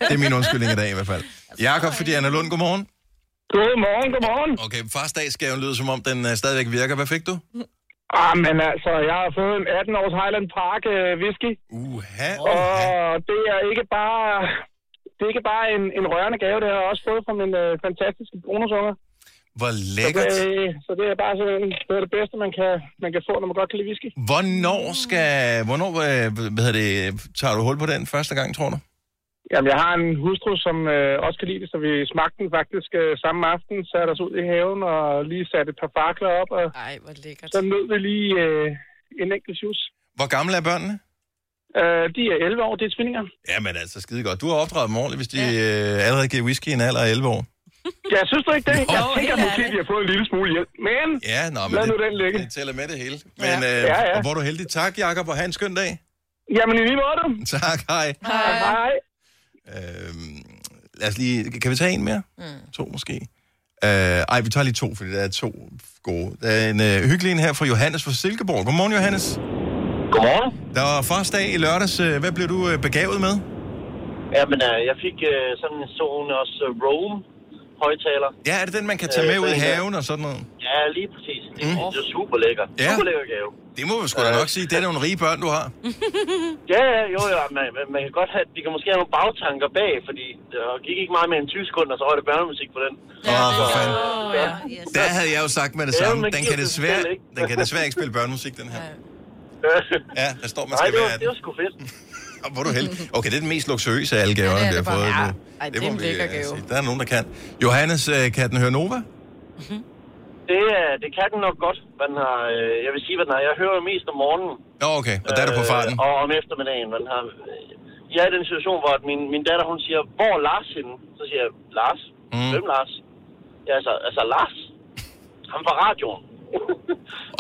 Speaker 1: det er min undskyldning i dag i hvert fald. Jakob, fordi Anna Lund, godmorgen.
Speaker 16: Godmorgen, godmorgen.
Speaker 1: Okay, farsdagsgaven lyder som om, den øh, stadigvæk virker. Hvad fik du?
Speaker 16: Ah, men altså, jeg har fået en 18-års Highland Park øh, whisky.
Speaker 1: Uha,
Speaker 16: Og det er ikke bare... Det er ikke bare en, en rørende gave, det har jeg også fået fra min øh, fantastiske bonusunger.
Speaker 1: Hvor
Speaker 16: Så
Speaker 1: lækkert.
Speaker 16: det, øh, så det er bare sådan, det, er det bedste, man kan, man kan få, når man godt kan lide whisky.
Speaker 1: Hvornår skal... Hvornår øh, hvad hedder det, tager du hul på den første gang, tror du?
Speaker 16: Jamen, jeg har en hustru, som øh, også kan lide det, så vi smagte den faktisk øh, samme aften, satte os ud i haven og lige satte et par fakler op. Og Ej, hvor lækkert. Så nød vi lige øh, en enkelt juice.
Speaker 1: Hvor gamle er børnene?
Speaker 16: Øh, de er 11 år, det er tvillinger.
Speaker 1: Jamen altså, skide godt. Du har opdraget dem ordentligt, hvis de øh, allerede giver whisky i en alder af 11 år.
Speaker 16: Ja, synes du ikke det?
Speaker 1: Jo,
Speaker 16: jeg
Speaker 1: helt
Speaker 16: tænker måske, de har fået en lille smule hjælp. Men
Speaker 1: Ja, nå, men
Speaker 16: lad
Speaker 1: det-
Speaker 16: nu den ligge.
Speaker 1: det tæller med det hele. Men
Speaker 16: Ja.
Speaker 1: ja. Øh,
Speaker 16: Ja, ja.
Speaker 1: og hvor er du heldig. Tak, Jakob, og have en skøn dag.
Speaker 16: Jamen, i lige måde.
Speaker 1: Tak, hej.
Speaker 16: Hej. Hej.
Speaker 1: Øhm, lad os lige... Kan vi tage en mere? Mm. To måske. Øh, ej, vi tager lige to, fordi der er to gode. Der er en øh, hyggelig en her fra Johannes fra Silkeborg. Godmorgen, Johannes. Godmorgen. Der var fars dag i lørdags. Øh, Hvad blev du øh, begavet med?
Speaker 17: Ja, men øh, jeg fik øh, sådan en Sonos øh, Roam højtaler.
Speaker 1: Ja, er det den, man kan
Speaker 17: Øh,
Speaker 1: tage med ud i haven og sådan noget?
Speaker 17: Ja, lige præcis. Det, mm. det er super lækker.
Speaker 1: Ja.
Speaker 17: Ja. Super lækker gave.
Speaker 1: Det må vi sgu da
Speaker 17: Øh.
Speaker 1: nok sige. Det er nogle rige børn, du har.
Speaker 17: Ja, ja, jo, jo. Man, man, man kan godt have, de kan måske have nogle bagtanker bag, fordi der gik ikke meget mere end 20 sekunder, så røg det børnemusik på den.
Speaker 1: Åh, oh, for fanden. Der havde jeg jo sagt med det
Speaker 17: Ja,
Speaker 1: samme.
Speaker 17: men
Speaker 1: Den
Speaker 17: giver
Speaker 1: kan,
Speaker 17: sig
Speaker 1: desværre,
Speaker 17: selv, ikke?
Speaker 1: den kan desværre ikke spille børnemusik, den her. Ja, der står, man
Speaker 17: Nej,
Speaker 1: skal
Speaker 17: det var,
Speaker 1: være
Speaker 17: det
Speaker 1: den.
Speaker 17: var sgu fedt.
Speaker 1: Og Hvor er du heldig. Okay, det er den mest luksuriøse af alle gaverne,
Speaker 17: Ja,
Speaker 1: ja,
Speaker 17: det
Speaker 1: vi
Speaker 17: er
Speaker 1: har
Speaker 17: det bare.
Speaker 1: fået.
Speaker 17: Ja.
Speaker 1: nu.
Speaker 17: Ej, det er
Speaker 1: må
Speaker 17: en
Speaker 1: vi,
Speaker 17: lækker
Speaker 1: øh,
Speaker 17: gave.
Speaker 1: sige. Der er nogen, der kan. Johannes, øh, kan den høre Nova?
Speaker 17: Det, er- det kan den nok godt. Man har, øh, jeg vil sige, hvad den har. Jeg hører jo mest om morgenen.
Speaker 1: Nå, okay. Og der er du på farten.
Speaker 17: Øh, og om eftermiddagen. Man har, øh, jeg er i den situation, hvor at min, min datter, hun siger, hvor er Lars henne? Så siger jeg, Lars?
Speaker 1: Mm.
Speaker 17: Hvem Lars? Ja, altså, altså Lars? Ham fra radioen.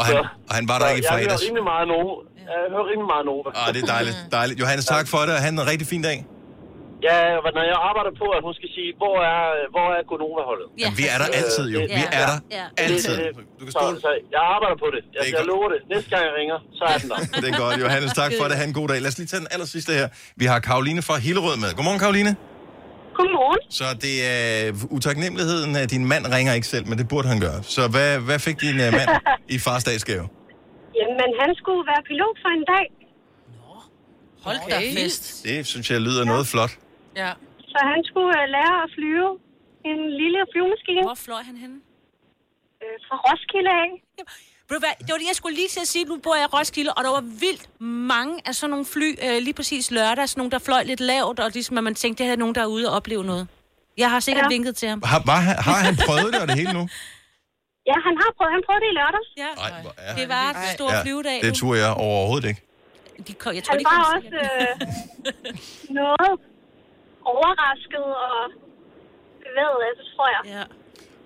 Speaker 1: Og han, og han var der
Speaker 17: Så
Speaker 1: ikke i
Speaker 17: jeg
Speaker 1: fredags.
Speaker 17: hører rimelig meget Nova. Jeg hører rimelig meget Nova.
Speaker 1: Ah, det er dejligt, dejligt. Johannes, tak for det, og han en rigtig fin dag.
Speaker 17: Ja, men når jeg arbejder på, at hun skal sige, hvor er, hvor er Gonova-holdet?
Speaker 1: Ja. Jamen, vi er der altid, jo. Vi er der altid.
Speaker 17: Du kan så, så, jeg arbejder på det. Jeg,
Speaker 1: Det er
Speaker 17: jeg
Speaker 1: godt.
Speaker 17: lover det. Næste gang jeg ringer, så er den der.
Speaker 1: Det er godt, Johannes. Tak for det. Ha' en god dag. Lad os lige tage den aller sidste her. Vi har Karoline fra Hillerød med. Godmorgen, Karoline.
Speaker 18: Godmorgen.
Speaker 1: Så det er utaknemmeligheden, at din mand ringer ikke selv, men det burde han gøre. Så hvad, hvad fik din øh, mand i fars dagsgave?
Speaker 18: Jamen, han skulle være pilot for en dag,
Speaker 3: Hold da fest.
Speaker 1: Det synes jeg lyder noget flot.
Speaker 3: Ja.
Speaker 18: så han skulle øh, lære at flyve en lille flyvemaskine.
Speaker 2: Hvor fløj han henne?
Speaker 18: Øh, fra Roskilde af.
Speaker 2: Ved du hvad, det var det, jeg skulle lige til at sige. Nu bor jeg i Roskilde, og der var vildt mange af sådan nogle fly, øh, lige præcis lørdag, sådan nogle, der fløj lidt lavt, og ligesom, at man tænkte, det her er nogen, der er ude og opleve noget. Jeg har sikkert ja.
Speaker 18: Ja.
Speaker 2: vinket til ham.
Speaker 1: Har, var, han- har han prøvet det og det hele nu?
Speaker 18: Ja, han har prøvet, han prøvede det i lørdag.
Speaker 2: Ja.
Speaker 1: Ej, hvor er
Speaker 2: Det var en stor flyvedag.
Speaker 1: det tror jeg overhovedet ikke.
Speaker 2: De kom, jeg tror,
Speaker 18: Han
Speaker 2: de
Speaker 18: var
Speaker 2: kom
Speaker 18: også øh, noget overrasket og bevæget af det, tror jeg.
Speaker 2: Ja.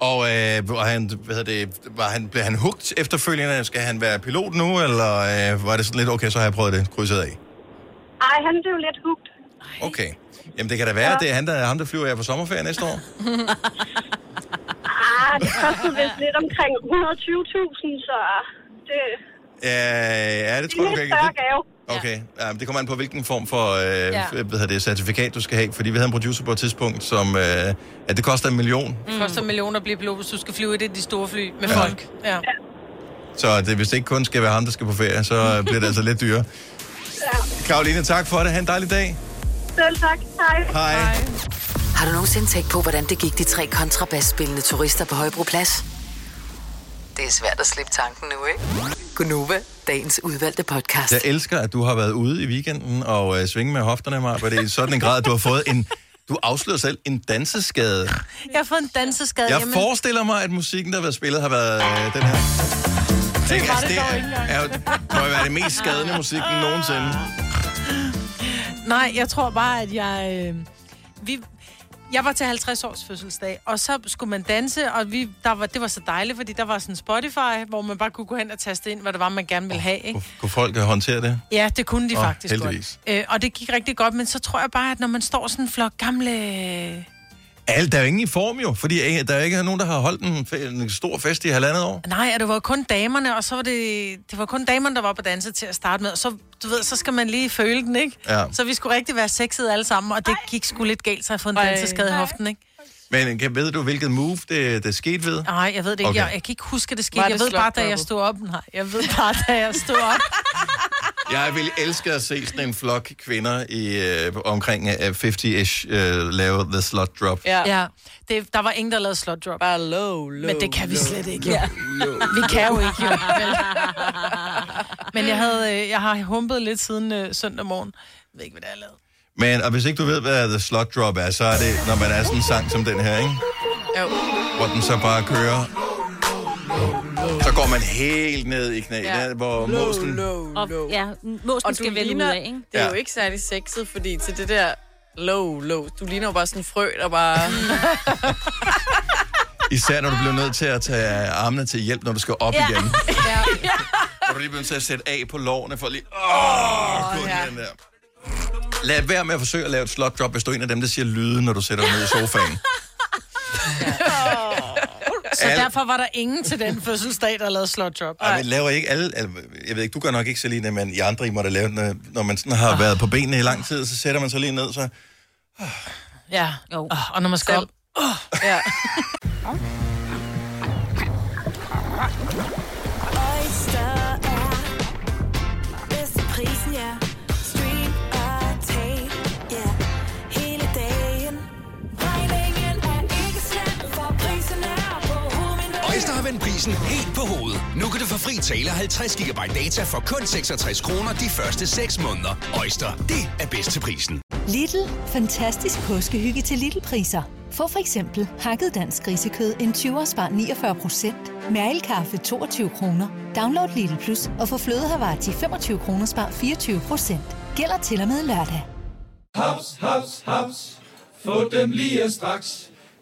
Speaker 1: Og øh, var, han, hvad hedder det, var han, blev han hugt efterfølgende? Skal han være pilot nu, eller øh, var det sådan lidt, okay, så har jeg prøvet det, krydset af?
Speaker 18: Ej, han blev lidt hugt.
Speaker 1: Okay. Jamen, det kan da være, ja. det er han, der, ham, der flyver jer på sommerferie næste år.
Speaker 18: Ah, det kostede vist lidt omkring 120.000, så det,
Speaker 1: Ja, ja det
Speaker 18: det
Speaker 1: tror
Speaker 18: er
Speaker 1: jeg
Speaker 18: en
Speaker 1: nok
Speaker 18: lidt
Speaker 1: ikke.
Speaker 18: større
Speaker 1: Det,
Speaker 18: gave.
Speaker 1: okay, ja, men det kommer an på, hvilken form for øh,
Speaker 18: Ja.
Speaker 1: hvad hedder det, certifikat du skal have. Fordi vi havde en producer på et tidspunkt, som, øh, at det koster en million.
Speaker 3: Det koster millioner at blive pilot, hvis du skal flyve i det de store fly med ja. folk. Ja.
Speaker 1: Så det, hvis det ikke kun skal være ham, der skal på ferie, så øh, bliver det altså lidt dyrere. Karoline, tak for det. Ha' en dejlig dag.
Speaker 18: Selv tak. Hej.
Speaker 1: Hej. Hej.
Speaker 5: Har du nogensinde tænkt på, hvordan det gik de tre kontrabasspillende turister på Højbroplads? Det er svært at slippe tanken nu, ikke? Gunova, dagens udvalgte podcast.
Speaker 1: Jeg elsker, at du har været ude i weekenden og øh, svinge med hofterne, mig, for det er i sådan en grad, at du har fået en... Du afslører selv en danseskade.
Speaker 3: Jeg har fået en danseskade
Speaker 1: Jeg
Speaker 3: hjemme.
Speaker 1: forestiller mig, at musikken, der har været spillet, har været øh, den her. Tænk, altså,
Speaker 3: var det
Speaker 1: det
Speaker 3: dog
Speaker 1: er,
Speaker 3: ikke engang.
Speaker 1: er, jo- må jo være det mest skadende musik nogensinde.
Speaker 3: Nej, jeg tror bare, at jeg... Øh, vi, jeg var til 50 års fødselsdag, og så skulle man danse, og vi, der var, det var så dejligt, fordi der var sådan Spotify, hvor man bare kunne gå hen og taste ind, hvad det var, man gerne ville have. Ikke?
Speaker 1: Kunne folk øh, håndtere det?
Speaker 3: Ja, det kunne de
Speaker 1: Åh,
Speaker 3: faktisk
Speaker 1: heldigvis.
Speaker 3: godt. Øh, og det gik rigtig godt, men så tror jeg bare, at når man står sådan en flok gamle
Speaker 1: Alt, der er jo ingen i form jo, fordi øh, der er ikke nogen, der har holdt en, fe- en stor fest i halvandet år.
Speaker 3: Nej, og det var kun damerne, og så var det, det var kun damerne, der var på danse til at starte med. Og så, du ved, så skal man lige føle den, ikke?
Speaker 1: Ja.
Speaker 3: Så vi skulle rigtig være sexede alle sammen, og det gik sgu lidt galt, så jeg har fået en danseskade i hoften, ikke?
Speaker 1: Men kan, ved du, hvilket move det, det skete ved?
Speaker 3: Nej, jeg ved det ikke.
Speaker 1: Okay.
Speaker 3: Okay. Jeg, jeg kan ikke huske, at det skete.
Speaker 4: Var
Speaker 3: Det
Speaker 4: det
Speaker 3: jeg ved bare, da jeg
Speaker 4: slutdroppet?
Speaker 3: stod op. Nej, jeg ved bare, da jeg stod op.
Speaker 1: Jeg vil elske at se sådan en flok kvinder i øh, omkring øh, 50-ish øh, lave The Slut Drop.
Speaker 3: ja. Det, der var ingen, der lavede slot drop. Bare low, low, Men det kan vi slet ikke. Ja. Vi kan jo ikke, jo. Vel? Men jeg, havde, øh, jeg har humpet lidt siden øh, søndag morgen. Jeg ved ikke, hvad det er, jeg lavede.
Speaker 1: Men og hvis ikke du ved, hvad The Slut Drop er, så er det, når man er sådan en sang som den her, ikke?
Speaker 3: Jo.
Speaker 1: Hvor den så bare kører. Så går man helt ned i knæet, ja. hvor mosen...
Speaker 2: Og, ja,
Speaker 4: Og
Speaker 2: måsen
Speaker 4: du
Speaker 2: skal vælge ud
Speaker 4: ligner-
Speaker 2: af, ikke?
Speaker 4: Det er
Speaker 1: Ja.
Speaker 4: jo ikke særlig sexet, fordi til det der low, low, du ligner jo bare sådan en frø, der bare...
Speaker 1: Især når du bliver nødt til at tage armene til hjælp, når du skal op igen.
Speaker 4: ja.
Speaker 1: Når du lige bliver nødt til at sætte af på lårene for lige... Åh, oh, ja. den der. Lad være med at forsøge at lave et slot drop, hvis du er en af dem, der siger lyde, når du sætter dig ned i sofaen.
Speaker 3: Så
Speaker 1: Al-
Speaker 3: derfor var der ingen til den fødselsdag, der lavede slot drop.
Speaker 1: Ej, men laver I ikke alle... al- Jeg ved ikke, du gør nok ikke, Selina, men I andre, I må da lave, den, når- når man sådan har været på benene i lang tid, så sætter man sig lige ned, så...
Speaker 3: Ja, jo. og når man skal op.
Speaker 4: ja.
Speaker 11: Oyster er bedst til prisen, ja. Stream og tag, ja. Hele dagen. Regningen er ikke slem, for prisen er på hovedet.
Speaker 12: Øjster har vendt prisen helt på hovedet. Nu kan du få fri tale 50 GB data for kun 66 kroner de første 6 måneder. Øjster, det er bedst til prisen.
Speaker 13: Lidl. Fantastisk påskehygge til Lidl-priser. Få for eksempel hakket dansk grisekød en 20 spar 49 med alkaffe 22 kroner. Download Lidl Plus og få flødehavar til 25 kroner spar 24 Gælder til og med lørdag.
Speaker 14: Haps, haps, haps. Få dem lige straks.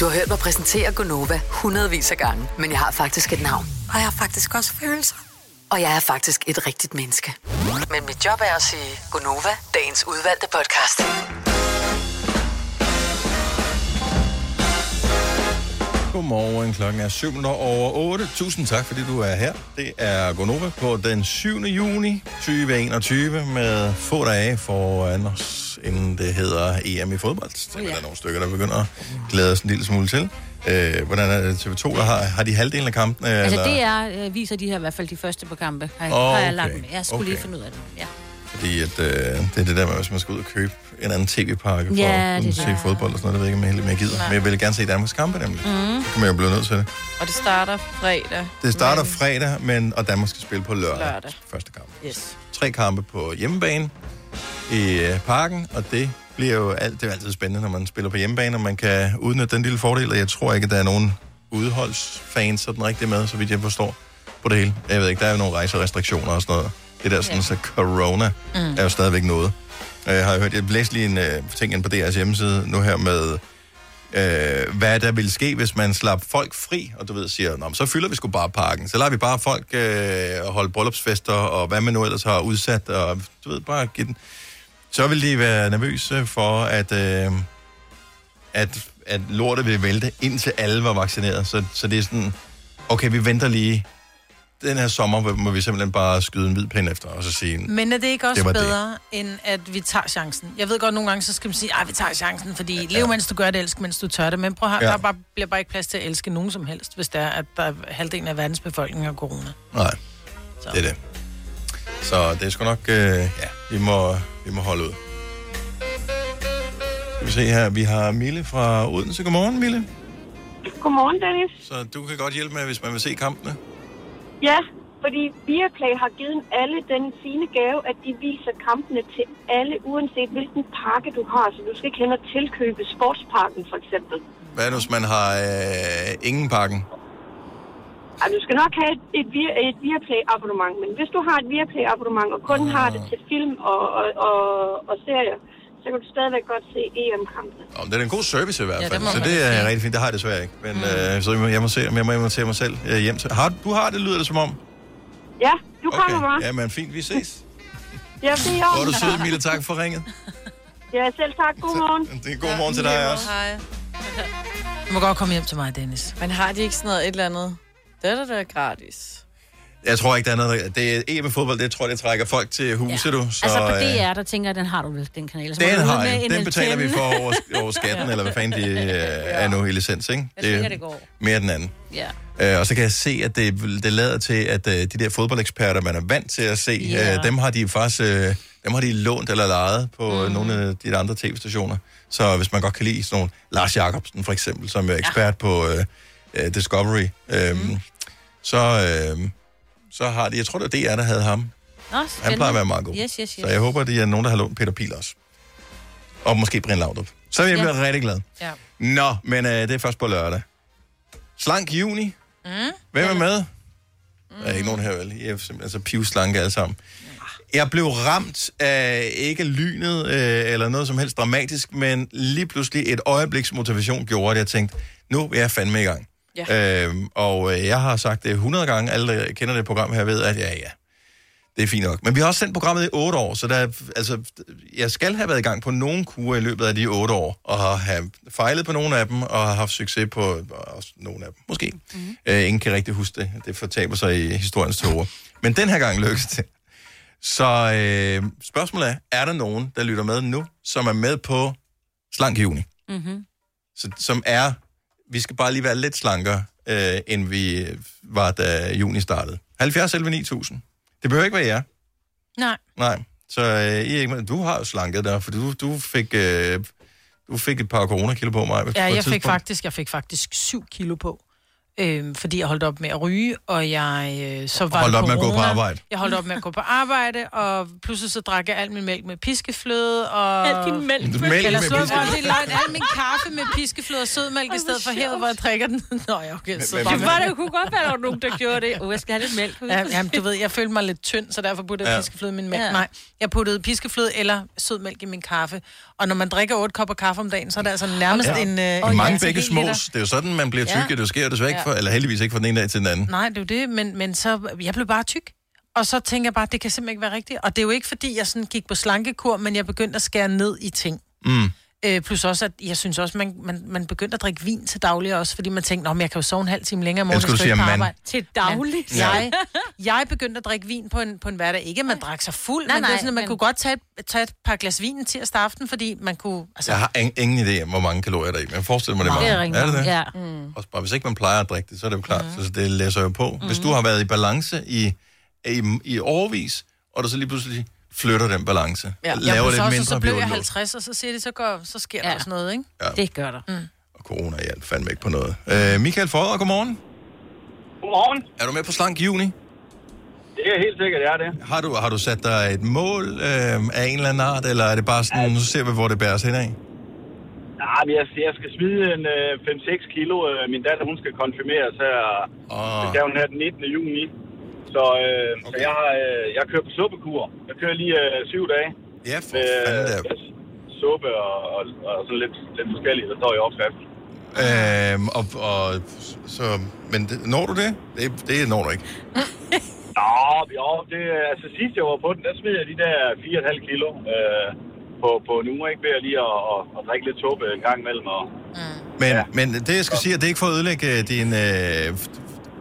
Speaker 5: Du har hørt mig præsentere Gonova hundredvis af gange, men jeg har faktisk et navn.
Speaker 19: Og jeg har faktisk også følelser.
Speaker 5: Og jeg er faktisk et rigtigt menneske. Men mit job er at sige Gonova, dagens udvalgte podcast.
Speaker 1: Godmorgen, klokken er 7 minutter over 8. Tusind tak, fordi du er her. Det er Gonova på den 7. juni 2021 med få dage foran os, inden det hedder EM i fodbold. Så tænker jeg, der er nogle stykker, der begynder at glæde os en lille smule til. Øh, hvordan er det TV2, der har, har de halvdelen af kampen?
Speaker 2: Altså, det er, øh, viser de her i hvert fald de første på kampe. Har, okay. har jeg lagt med. Jeg skulle okay. lige finde ud af det. Ja.
Speaker 1: Fordi at, øh, det er det der med, hvis man skal ud og købe en anden tv-pakke for
Speaker 2: Ja,
Speaker 1: ja, at
Speaker 2: det
Speaker 1: kunne
Speaker 2: er
Speaker 1: se
Speaker 2: det.
Speaker 1: fodbold og sådan noget. Det ved jeg ikke, om jeg, helt- om jeg gider.
Speaker 4: Nej.
Speaker 1: Men jeg vil gerne se Danmarks kampe, nemlig.
Speaker 4: Mm.
Speaker 1: Så kan man jo blive nødt til det.
Speaker 4: Og det starter fredag.
Speaker 1: Det starter fredag, men, og Danmark skal spille på lørdag.
Speaker 4: Lørdag.
Speaker 1: Første kamp.
Speaker 4: Yes.
Speaker 1: Tre kampe på hjemmebane i øh, parken, og det bliver jo alt, det er jo altid spændende, når man spiller på hjemmebane, og man kan udnytte den lille fordel, og jeg tror ikke, at der er nogen udholdsfans sådan rigtig med, så vidt jeg forstår på det hele. Jeg ved ikke, der er jo nogle rejserestriktioner og sådan noget. Det der sådan,
Speaker 20: Ja.
Speaker 1: så corona
Speaker 20: Mm.
Speaker 1: mm. er jo stadigvæk noget. Øh, har jeg hørt, jeg læste lige en øh, ting inde på DR's hjemmeside nu her med, øh, hvad der ville ske, hvis man slap folk fri, og du ved, siger, Nå, men så fylder vi sgu bare parken, så lader vi bare folk øh, holde bryllupsfester, og hvad man nu ellers har udsat, og du ved, bare give den. Så ville de være nervøse for, at, øh, at, at lortet ville vælte, indtil alle var vaccineret. Så, så det er sådan, okay, vi venter lige. Den her sommer må vi simpelthen bare skyde en hvid pind efter, og så sige,
Speaker 3: Men er det ikke også
Speaker 1: Det var
Speaker 3: det
Speaker 1: det.
Speaker 3: bedre, det. end at vi tager chancen? Jeg ved godt, nogle gange, så skal man sige, at vi tager chancen, fordi ja. lev mens du gør det, elsk mens du tør det. Men prøv at, ja.
Speaker 1: Ja.
Speaker 3: der er bare, bliver bare ikke plads til at elske nogen som helst, hvis det er, at der er halvdelen af verdens befolkning har corona.
Speaker 1: Nej, så. det er det. Så det er sgu nok, øh, ja, vi må, vi må holde ud. Skal vi se her, vi har Mille fra Odense. Godmorgen, Mille.
Speaker 18: Godmorgen, Dennis.
Speaker 1: Så du kan godt hjælpe med, hvis man vil se kampene.
Speaker 18: Ja, fordi Viaplay har givet alle den fine gave, at de viser kampene til alle, uanset hvilken pakke du har. Så du skal ikke hen og tilkøbe sportsparken, for eksempel.
Speaker 1: Hvad nu, hvis man har øh, ingen pakken?
Speaker 18: Ej, du skal nok have et, et, Via- et Viaplay-abonnement, men hvis du har et Viaplay-abonnement, og kun har
Speaker 1: Ah.
Speaker 18: det til film og, og, og, og serier, så kan du stadigvæk godt se E EM-kampene.
Speaker 1: Om det er en god service i hvert
Speaker 18: Ja,
Speaker 1: fald,
Speaker 18: det må
Speaker 1: så
Speaker 18: man
Speaker 1: det er
Speaker 18: sige. Mm.
Speaker 1: rigtig fint. Det har jeg desværre ikke, men øh, så jeg må, jeg må se, om jeg må invitere mig selv øh, hjem til. Har, du har det, lyder det som om.
Speaker 18: Ja, du kommer okay. bare.
Speaker 1: Ja, men fint, vi ses.
Speaker 18: Ja, det er i
Speaker 1: Hvor er
Speaker 18: orden.
Speaker 1: du sød, Mille. Tak for ringet.
Speaker 18: Ja, selv tak. God morgen.
Speaker 1: Det er god morgen til dig også.
Speaker 4: Hej.
Speaker 3: Du må godt komme hjem til mig, Dennis.
Speaker 4: Men har de ikke sådan noget et eller andet? Det er da da gratis.
Speaker 1: Jeg tror ikke, der er noget. Det er EM i fodbold, det tror jeg, det trækker folk til huset, ja. du. Så,
Speaker 2: altså, på
Speaker 1: øh,
Speaker 2: DR, der tænker jeg, den har du vel, den kanal. Så må
Speaker 1: Den
Speaker 2: du ud
Speaker 1: har
Speaker 2: med
Speaker 1: jeg.
Speaker 2: en
Speaker 1: Den betaler vi
Speaker 2: antenne.
Speaker 1: for over, over skatten, eller hvad fanden de øh, er nu i licens, ikke?
Speaker 2: Jeg tænker, det går.
Speaker 1: Mere den anden.
Speaker 2: Ja.
Speaker 1: Øh, og så kan jeg se, at det, det lader til, at øh, de der fodboldeksperter, man er vant til at se,
Speaker 21: Ja.
Speaker 1: øh, dem har de faktisk øh, dem har de lånt eller lejet på mm. nogle af de andre tv-stationer. Så hvis man godt kan lide sådan nogle, Lars Jacobsen for eksempel, som er ekspert ja. på øh, øh, Discovery, øh, mm. så, øh, så har de, jeg tror det var DR, der havde ham.
Speaker 2: Nå, spændende.
Speaker 1: plejer at være meget god.
Speaker 2: Yes, yes, yes.
Speaker 1: Så jeg håber, at det er nogen, der har lånt Peter Pil også. Og måske Brian Laudrup. Så vil jeg
Speaker 2: Ja.
Speaker 1: blive rigtig glad.
Speaker 3: Ja.
Speaker 1: Nå, men øh, det er først på lørdag. Slank juni.
Speaker 3: Mm.
Speaker 1: Hvem er med? Der er ikke nogen her, vel? I er simpelthen så pivslanke alle sammen. Jeg blev ramt af ikke lynet øh, eller noget som helst dramatisk, men lige pludselig et øjebliks motivation gjorde, at jeg tænkte, nu er jeg fandme i gang. Ja. Øhm, og øh, jeg har sagt det 100 gange, alle der kender det program her ved, at ja, ja, det er fint nok. Men vi har også sendt programmet i 8 år, så der, er- altså, jeg skal have været i gang på nogle kurer i løbet af de 8 år, og har have fejlet på nogle af dem, og har haft succes på og også nogle af dem, måske. Mm-hmm. Øh, ingen kan rigtig huske det. Det fortaber sig i historiens tårer. Men den her gang lykkedes det. Så øh, spørgsmålet er, er der nogen, der lytter med nu, som er med på slank i juni?
Speaker 2: Mm-hmm.
Speaker 1: Så, som er, vi skal bare lige være lidt slankere, øh, end vi var, da juni startede. 70 11 9000. Det behøver ikke være jer.
Speaker 3: Nej.
Speaker 1: Nej, så øh, I er ikke med. Du har jo slanket dig, for du, du, fik, øh, du fik et par coronakilo på mig. på et
Speaker 3: Ja, jeg fik,
Speaker 1: tidspunkt.
Speaker 3: faktisk, jeg fik faktisk 7 kilo på. Øh, fordi jeg holdt op med at ryge, og jeg øh, så var
Speaker 1: Holdt
Speaker 3: det
Speaker 1: op med at gå
Speaker 3: corona.
Speaker 1: på arbejde.
Speaker 3: Jeg holdt op med at gå på arbejde, og pludselig så drak jeg al min mælk med piskefløde. Og...
Speaker 2: Al din mælk med- Mælk
Speaker 3: Eller
Speaker 2: med
Speaker 3: slå-
Speaker 2: piskefløde.
Speaker 3: Det er løgn. Al min kaffe med piskefløde og sødmælk i stedet for her, hvor jeg drikker den. Nå ja, okay. Så
Speaker 2: Det
Speaker 3: bare
Speaker 2: var der kunne godt være, der var nogen, der gjorde det. Oh, jeg skal have lidt mælk.
Speaker 3: Ja, jamen, du ved, jeg følte mig lidt tynd, så derfor puttede jeg
Speaker 2: Ja.
Speaker 3: ja. piskefløde i min mælk.
Speaker 2: Ja.
Speaker 3: Ja. Nej, jeg puttede piskefløde eller sødmælk i min kaffe. Og når man drikker 8 kopper kaffe om dagen, så er det altså nærmest ja. en... Øh,
Speaker 1: Og mange
Speaker 3: en
Speaker 1: begge
Speaker 3: centimeter.
Speaker 1: smås. Det er jo sådan, man bliver tyk.
Speaker 3: Ja.
Speaker 1: Ja. Det sker desværre ikke
Speaker 3: Ja. Mm.
Speaker 1: for, eller heldigvis ikke fra den ene dag til den anden.
Speaker 3: Nej, det er jo det, men, men så, jeg blev bare tyk. Og så tænker jeg bare, det kan simpelthen ikke være rigtigt. Og det er jo ikke, fordi jeg sådan gik på slankekur, men jeg begyndte at skære ned i ting.
Speaker 1: Mm.
Speaker 3: Øh, plus også, at jeg synes også, man, man, man begyndte at drikke vin til daglig også, fordi man tænkte, "Nå, men jeg kan jo sove en halv time længere om morgenen.
Speaker 1: Elsker, du
Speaker 3: jeg skal ikke
Speaker 1: siger
Speaker 3: på
Speaker 1: man.
Speaker 3: arbejde."
Speaker 2: Til daglig?
Speaker 3: Men Jeg, jeg begyndte at drikke vin på en, på en hverdag. Ikke, at man drak sig fuld,
Speaker 2: Nej,
Speaker 3: nej, men nej, det
Speaker 2: nej,
Speaker 3: er sådan, at man
Speaker 2: men-
Speaker 3: men... kunne godt tage, et- tage et par glas vin en tirsdag aften, fordi man kunne... Altså,
Speaker 1: Jeg har ingen, ingen idé om, hvor mange kalorier der er i, men jeg forestiller mig, det er
Speaker 3: Meget.
Speaker 1: mange.
Speaker 3: Det er rigtig
Speaker 1: er det det?
Speaker 3: mange, ja.
Speaker 1: Mm. Og bare, hvis ikke man plejer at drikke det, så er det jo klart, mm. så det læser jo på. Mm. Hvis du har været i balance i, i, i overvis, og du så lige pludselig flytter den balance, ja.
Speaker 3: Jeg
Speaker 1: laver
Speaker 3: blev
Speaker 1: lidt
Speaker 3: så, også-
Speaker 1: mindre,
Speaker 3: så blev jeg
Speaker 1: undlået.
Speaker 3: 50, og så siger de, så, går, så sker ja. der sådan noget, ikke?
Speaker 1: Ja.
Speaker 2: Det gør der.
Speaker 3: Mm.
Speaker 1: Og corona hjalp fandme ikke på noget. Øh, Michael Fodder, godmorgen.
Speaker 19: Godmorgen.
Speaker 1: Er du med på Slank Juni?
Speaker 19: Det er helt sikkert, jeg er det.
Speaker 1: Har du, har du sat dig et mål øh, af en eller anden art, eller er det bare sådan, nu ser vi, hvor det bærer sig henad?
Speaker 19: Nej, men jeg, jeg skal smide en øh, 5-6 kilo. Øh, Min datter, hun skal konfirmeres her.
Speaker 1: Oh.
Speaker 19: Det skal hun her den 19. juni. Så, øh, okay. så jeg, har, øh, jeg kører på suppekur. Jeg kører lige øh, syv dage.
Speaker 1: Ja, for
Speaker 19: fanden da. Suppe og, og, og sådan lidt, lidt forskelligt, der står i opskriften.
Speaker 1: Øhm, og, og, så, men det, når du det? det? Det når du ikke.
Speaker 19: Nå, jo, det, altså sidst jeg var på den, der smed jeg de der 4,5 kilo øh, på, på en uge, ikke? Ved at lige at, at, at drikke lidt suppe en gang imellem. Og,
Speaker 1: Men, ja. men det, jeg skal sige, er, det er ikke for at ødelægge øh, din... Øh,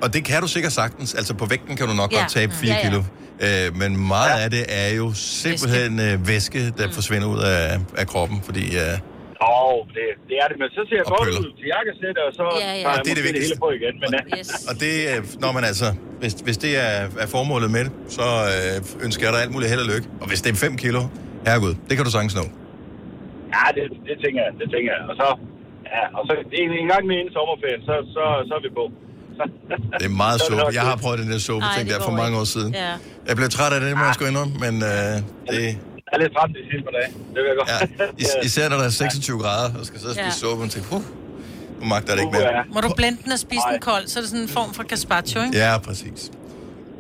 Speaker 1: og det kan du sikkert sagtens. Altså, på vægten kan du nok
Speaker 19: Ja.
Speaker 1: godt tabe 4
Speaker 19: Ja, ja.
Speaker 1: kilo. Øh, men meget af det er jo simpelthen øh, væske, der mm. forsvinder ud af, af kroppen, fordi... Øh,
Speaker 19: Åh, det, det er det, men så ser jeg
Speaker 1: Og
Speaker 19: godt
Speaker 1: pøller.
Speaker 19: ud til jakkesæt, og så
Speaker 1: Ja, ja.
Speaker 19: tager
Speaker 1: Og det er
Speaker 19: jeg måske
Speaker 1: det
Speaker 19: det
Speaker 1: vigtigste.
Speaker 19: hele på igen. Men, yes.
Speaker 1: og det, øh, når man altså, hvis, hvis det er, er formålet med det, så øh, ønsker jeg dig alt muligt held og lykke. Og hvis det er 5 kilo, herregud, det kan du sagtens nå.
Speaker 19: Ja, det, det tænker jeg, det tænker jeg. Og så, ja, og så en, en gang med en sommerferie, så, så, så er vi på.
Speaker 1: Det er meget
Speaker 19: Så er det
Speaker 1: suppe.
Speaker 19: nok
Speaker 1: Jeg har
Speaker 19: det.
Speaker 1: prøvet den der suppe
Speaker 19: Ej,
Speaker 1: ting
Speaker 19: det
Speaker 1: der for
Speaker 19: går
Speaker 1: mange
Speaker 19: ikke.
Speaker 1: år siden.
Speaker 19: Ja.
Speaker 1: Jeg blev træt af det, må jeg sgu indrømme, men øh, det...
Speaker 19: Jeg er lidt træt de sidste par dage. Det vil jeg godt. Ja,
Speaker 1: Is- især når der er 26 grader, og skal sidde og spise
Speaker 3: Ja.
Speaker 1: ja. suppe, og tænke, huh, nu magter jeg det ikke mere.
Speaker 3: Må du blende den og spise den kold, så er det sådan en form for gazpacho, ikke?
Speaker 1: Ja, præcis.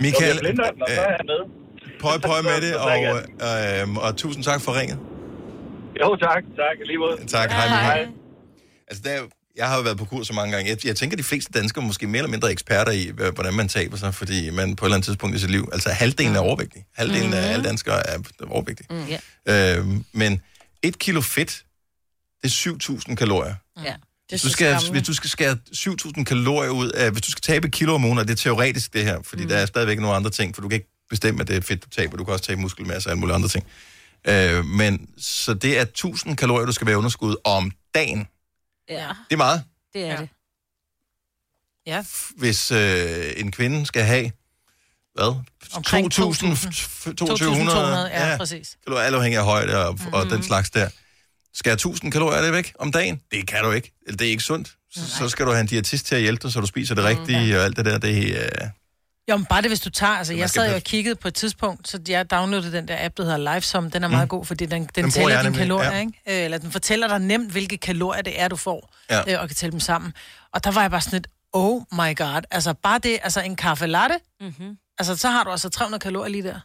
Speaker 1: Michael,
Speaker 19: jeg blinder den, og så er jeg med.
Speaker 1: prøv, prøv med
Speaker 19: Så-
Speaker 1: det,
Speaker 19: så
Speaker 1: og,
Speaker 19: drikker
Speaker 1: øh, og tusind tak for ringet.
Speaker 19: Jo, tak. Tak, i lige måde.
Speaker 1: Tak, hej. hej. Altså, der, jeg har jo været på kurs så mange gange. Jeg, jeg tænker, de fleste danskere er måske mere eller mindre er eksperter i, øh, hvordan man taber sig, fordi man på et eller andet tidspunkt i sit liv, altså halvdelen er overvægtig. Halvdelen mm. af alle danskere er overvægtige.
Speaker 2: Mm. Ja.
Speaker 1: Øh, men et kilo fedt, det er 7.000 kalorier.
Speaker 2: ja.
Speaker 1: Hvis du, skal, hvis du skal skære 7.000 kalorier ud af, hvis du skal tabe et kilo om ugen, og det er teoretisk det her, fordi mm. der er stadigvæk nogle andre ting, for du kan ikke bestemme, at det er fedt, du taber. Du kan også tabe muskelmasse og alle mulige andre ting. Øh, men så det er 1.000 kalorier, du skal være i underskud om dagen.
Speaker 2: Ja,
Speaker 1: Det er meget,
Speaker 2: det er ja. det.
Speaker 3: Ja.
Speaker 1: hvis øh, en kvinde skal have, hvad? 2.200
Speaker 3: ja, præcis.
Speaker 1: kalorier, alt afhængig af højde og, mm-hmm. og den slags der. Skal 1000 kalorier det væk om dagen? Det kan du ikke. Eller Det er ikke sundt. Så, så skal du have en diætist til at hjælpe dig, så du spiser det rigtige og alt det der. Det, øh,
Speaker 3: Jo, men bare det, hvis du tager... Altså,
Speaker 1: Man
Speaker 3: jeg
Speaker 1: skal
Speaker 3: sad jo og
Speaker 1: passe-
Speaker 3: kiggede på et tidspunkt, så jeg downloadede den der app, der hedder Lifesum. Den er meget
Speaker 1: Mm.
Speaker 3: god, fordi den, den,
Speaker 1: bruger
Speaker 3: den tæller
Speaker 1: jeg
Speaker 3: dine
Speaker 1: nemlig,
Speaker 3: kalorier,
Speaker 1: ja.
Speaker 3: ikke? Øh, Eller den fortæller dig nemt, hvilke kalorier det er, du får,
Speaker 1: Ja.
Speaker 3: øh, og kan tælle dem sammen. Og der var jeg bare sådan lidt, oh my god. Altså, bare det, altså en kaffe latte,
Speaker 2: Mm-hmm.
Speaker 3: altså, så har du altså 300 kalorier lige der.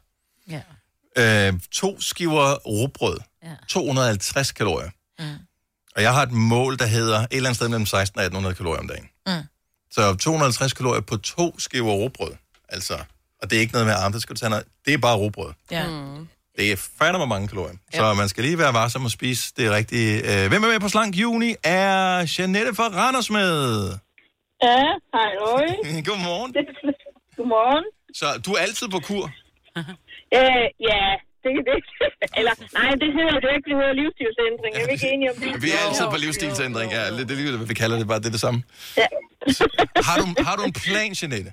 Speaker 1: øh, to skiver rugbrød. Ja. 250 kalorier.
Speaker 3: Mm.
Speaker 1: Og jeg har et mål, der hedder et eller andet sted mellem 16 og 1800 kalorier om dagen.
Speaker 3: Mm.
Speaker 1: Så 250 kalorier på to skiver rugbrød. Altså, og det er ikke noget med arm, det skal du tage noget. Det er bare rugbrød.
Speaker 3: Ja.
Speaker 1: Det er fandme mange kalorier. Ja. Så man skal lige være varsom og spise det rigtige. Øh, Hvem er med på Slank Juni? Er Janette fra Randers med?
Speaker 20: Ja, hej, øj.
Speaker 1: Godmorgen.
Speaker 20: Godmorgen.
Speaker 1: Så du er altid på kur?
Speaker 20: Øh, ja, det kan det. Eller, nej, det hedder det jo ikke. Det hedder livsstilsændring. Er vi ikke enige om det?
Speaker 1: Vi er altid på livsstilsændring. Ja, det er lige, hvad vi kalder det. Bare det er det samme.
Speaker 20: Ja.
Speaker 1: Har du, har du en plan, Janette?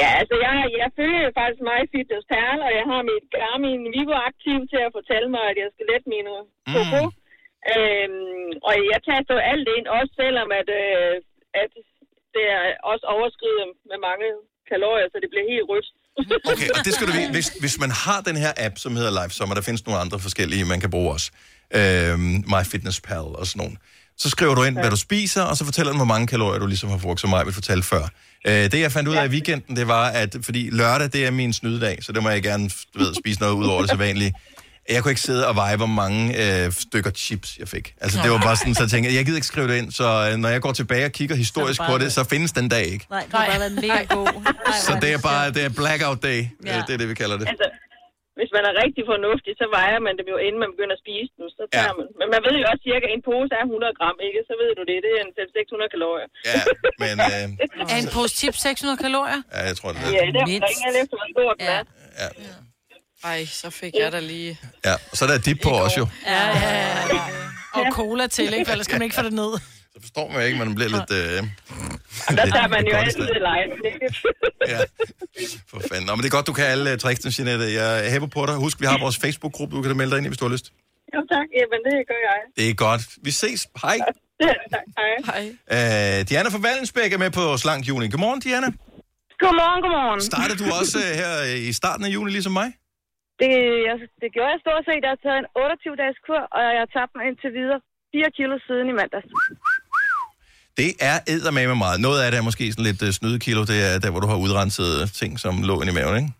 Speaker 20: Ja, altså, jeg, jeg følger faktisk mig Fitness Perle, og jeg har mit Garmin Vivo aktiv til at fortælle mig, at jeg skal lette mine mm.
Speaker 18: Mm-hmm.
Speaker 20: øhm, og jeg taster jo alt ind, også selvom at, øh, at det er også overskrider med mange kalorier, så det bliver helt rødt.
Speaker 1: Okay, og det skal du vide. Hvis, hvis man har den her app, som hedder Life Summer, der findes nogle andre forskellige, man kan bruge også. Øhm, MyFitnessPal og sådan nogle. Så skriver du ind, hvad du spiser, og så fortæller den, hvor mange kalorier du ligesom har brugt, som mig vil fortælle før. Øh, det, jeg fandt ud af i weekenden, det var, at fordi lørdag, det er min snydedag, så det må jeg gerne du ved, spise noget ud over det sædvanlige. Jeg kunne ikke sidde og veje, hvor mange øh, stykker chips jeg fik. Altså, det var bare sådan, så jeg tænkte, jeg gider ikke skrive det ind, så øh, når jeg går tilbage og kigger historisk på
Speaker 2: bare
Speaker 1: det, så findes den dag ikke.
Speaker 2: Nej, du har bare været mega god.
Speaker 1: Så det er bare, det er blackout day, ja. det er det, vi kalder det.
Speaker 20: Altså, hvis man er rigtig fornuftig, så vejer man dem jo, inden man begynder at spise dem. Så tager ja. man. Men man ved jo også cirka, at en pose er 100 gram, ikke? Så ved du det. Det er en 500-600 kalorier.
Speaker 1: Ja, men øh,
Speaker 3: Er en pose chips 600 kalorier?
Speaker 1: ja, jeg tror, det
Speaker 20: Ja,
Speaker 1: er
Speaker 20: det er
Speaker 1: det.
Speaker 20: omkring alt efter, hvor stor den er.
Speaker 4: Ej, så fik jeg da lige...
Speaker 1: Ja, og så er der dip på også jo.
Speaker 3: Ja, ja, ja. Og cola til, ikke? For ellers kan man ikke få det ned.
Speaker 1: Så forstår man jo ikke, man bliver lidt... Øh,
Speaker 20: Der
Speaker 1: lidt-
Speaker 20: tager man
Speaker 1: lidt
Speaker 20: jo
Speaker 1: godt i
Speaker 20: altid
Speaker 1: stand.
Speaker 20: det lejen.
Speaker 1: For fanden. Nå, men det er godt, du kan alle uh, tricksene, Jeanette. Jeg hæber på dig. Husk, vi har vores Facebook-gruppe, du kan da melde dig ind i, hvis du har lyst.
Speaker 20: Jo, tak. Jamen, det gør jeg.
Speaker 1: Det er godt. Vi ses. Hej.
Speaker 20: Tak. Hej. Hej.
Speaker 1: Uh, Diana fra Vallensbæk er med på Slank Juni. Godmorgen, Diana.
Speaker 7: Godmorgen, godmorgen.
Speaker 1: Startede du også uh, her i starten af juni, ligesom mig?
Speaker 7: Det, jeg, det gjorde jeg stort set. Jeg har taget en 28-dages kur, og jeg har tabt mig indtil videre 4 kilo siden i mandags.
Speaker 1: Det er eddermame meget. Noget af det er måske sådan lidt uh, snydekilo. Det er der, hvor du har udrenset øh, ting, som lå inde i maven, ikke?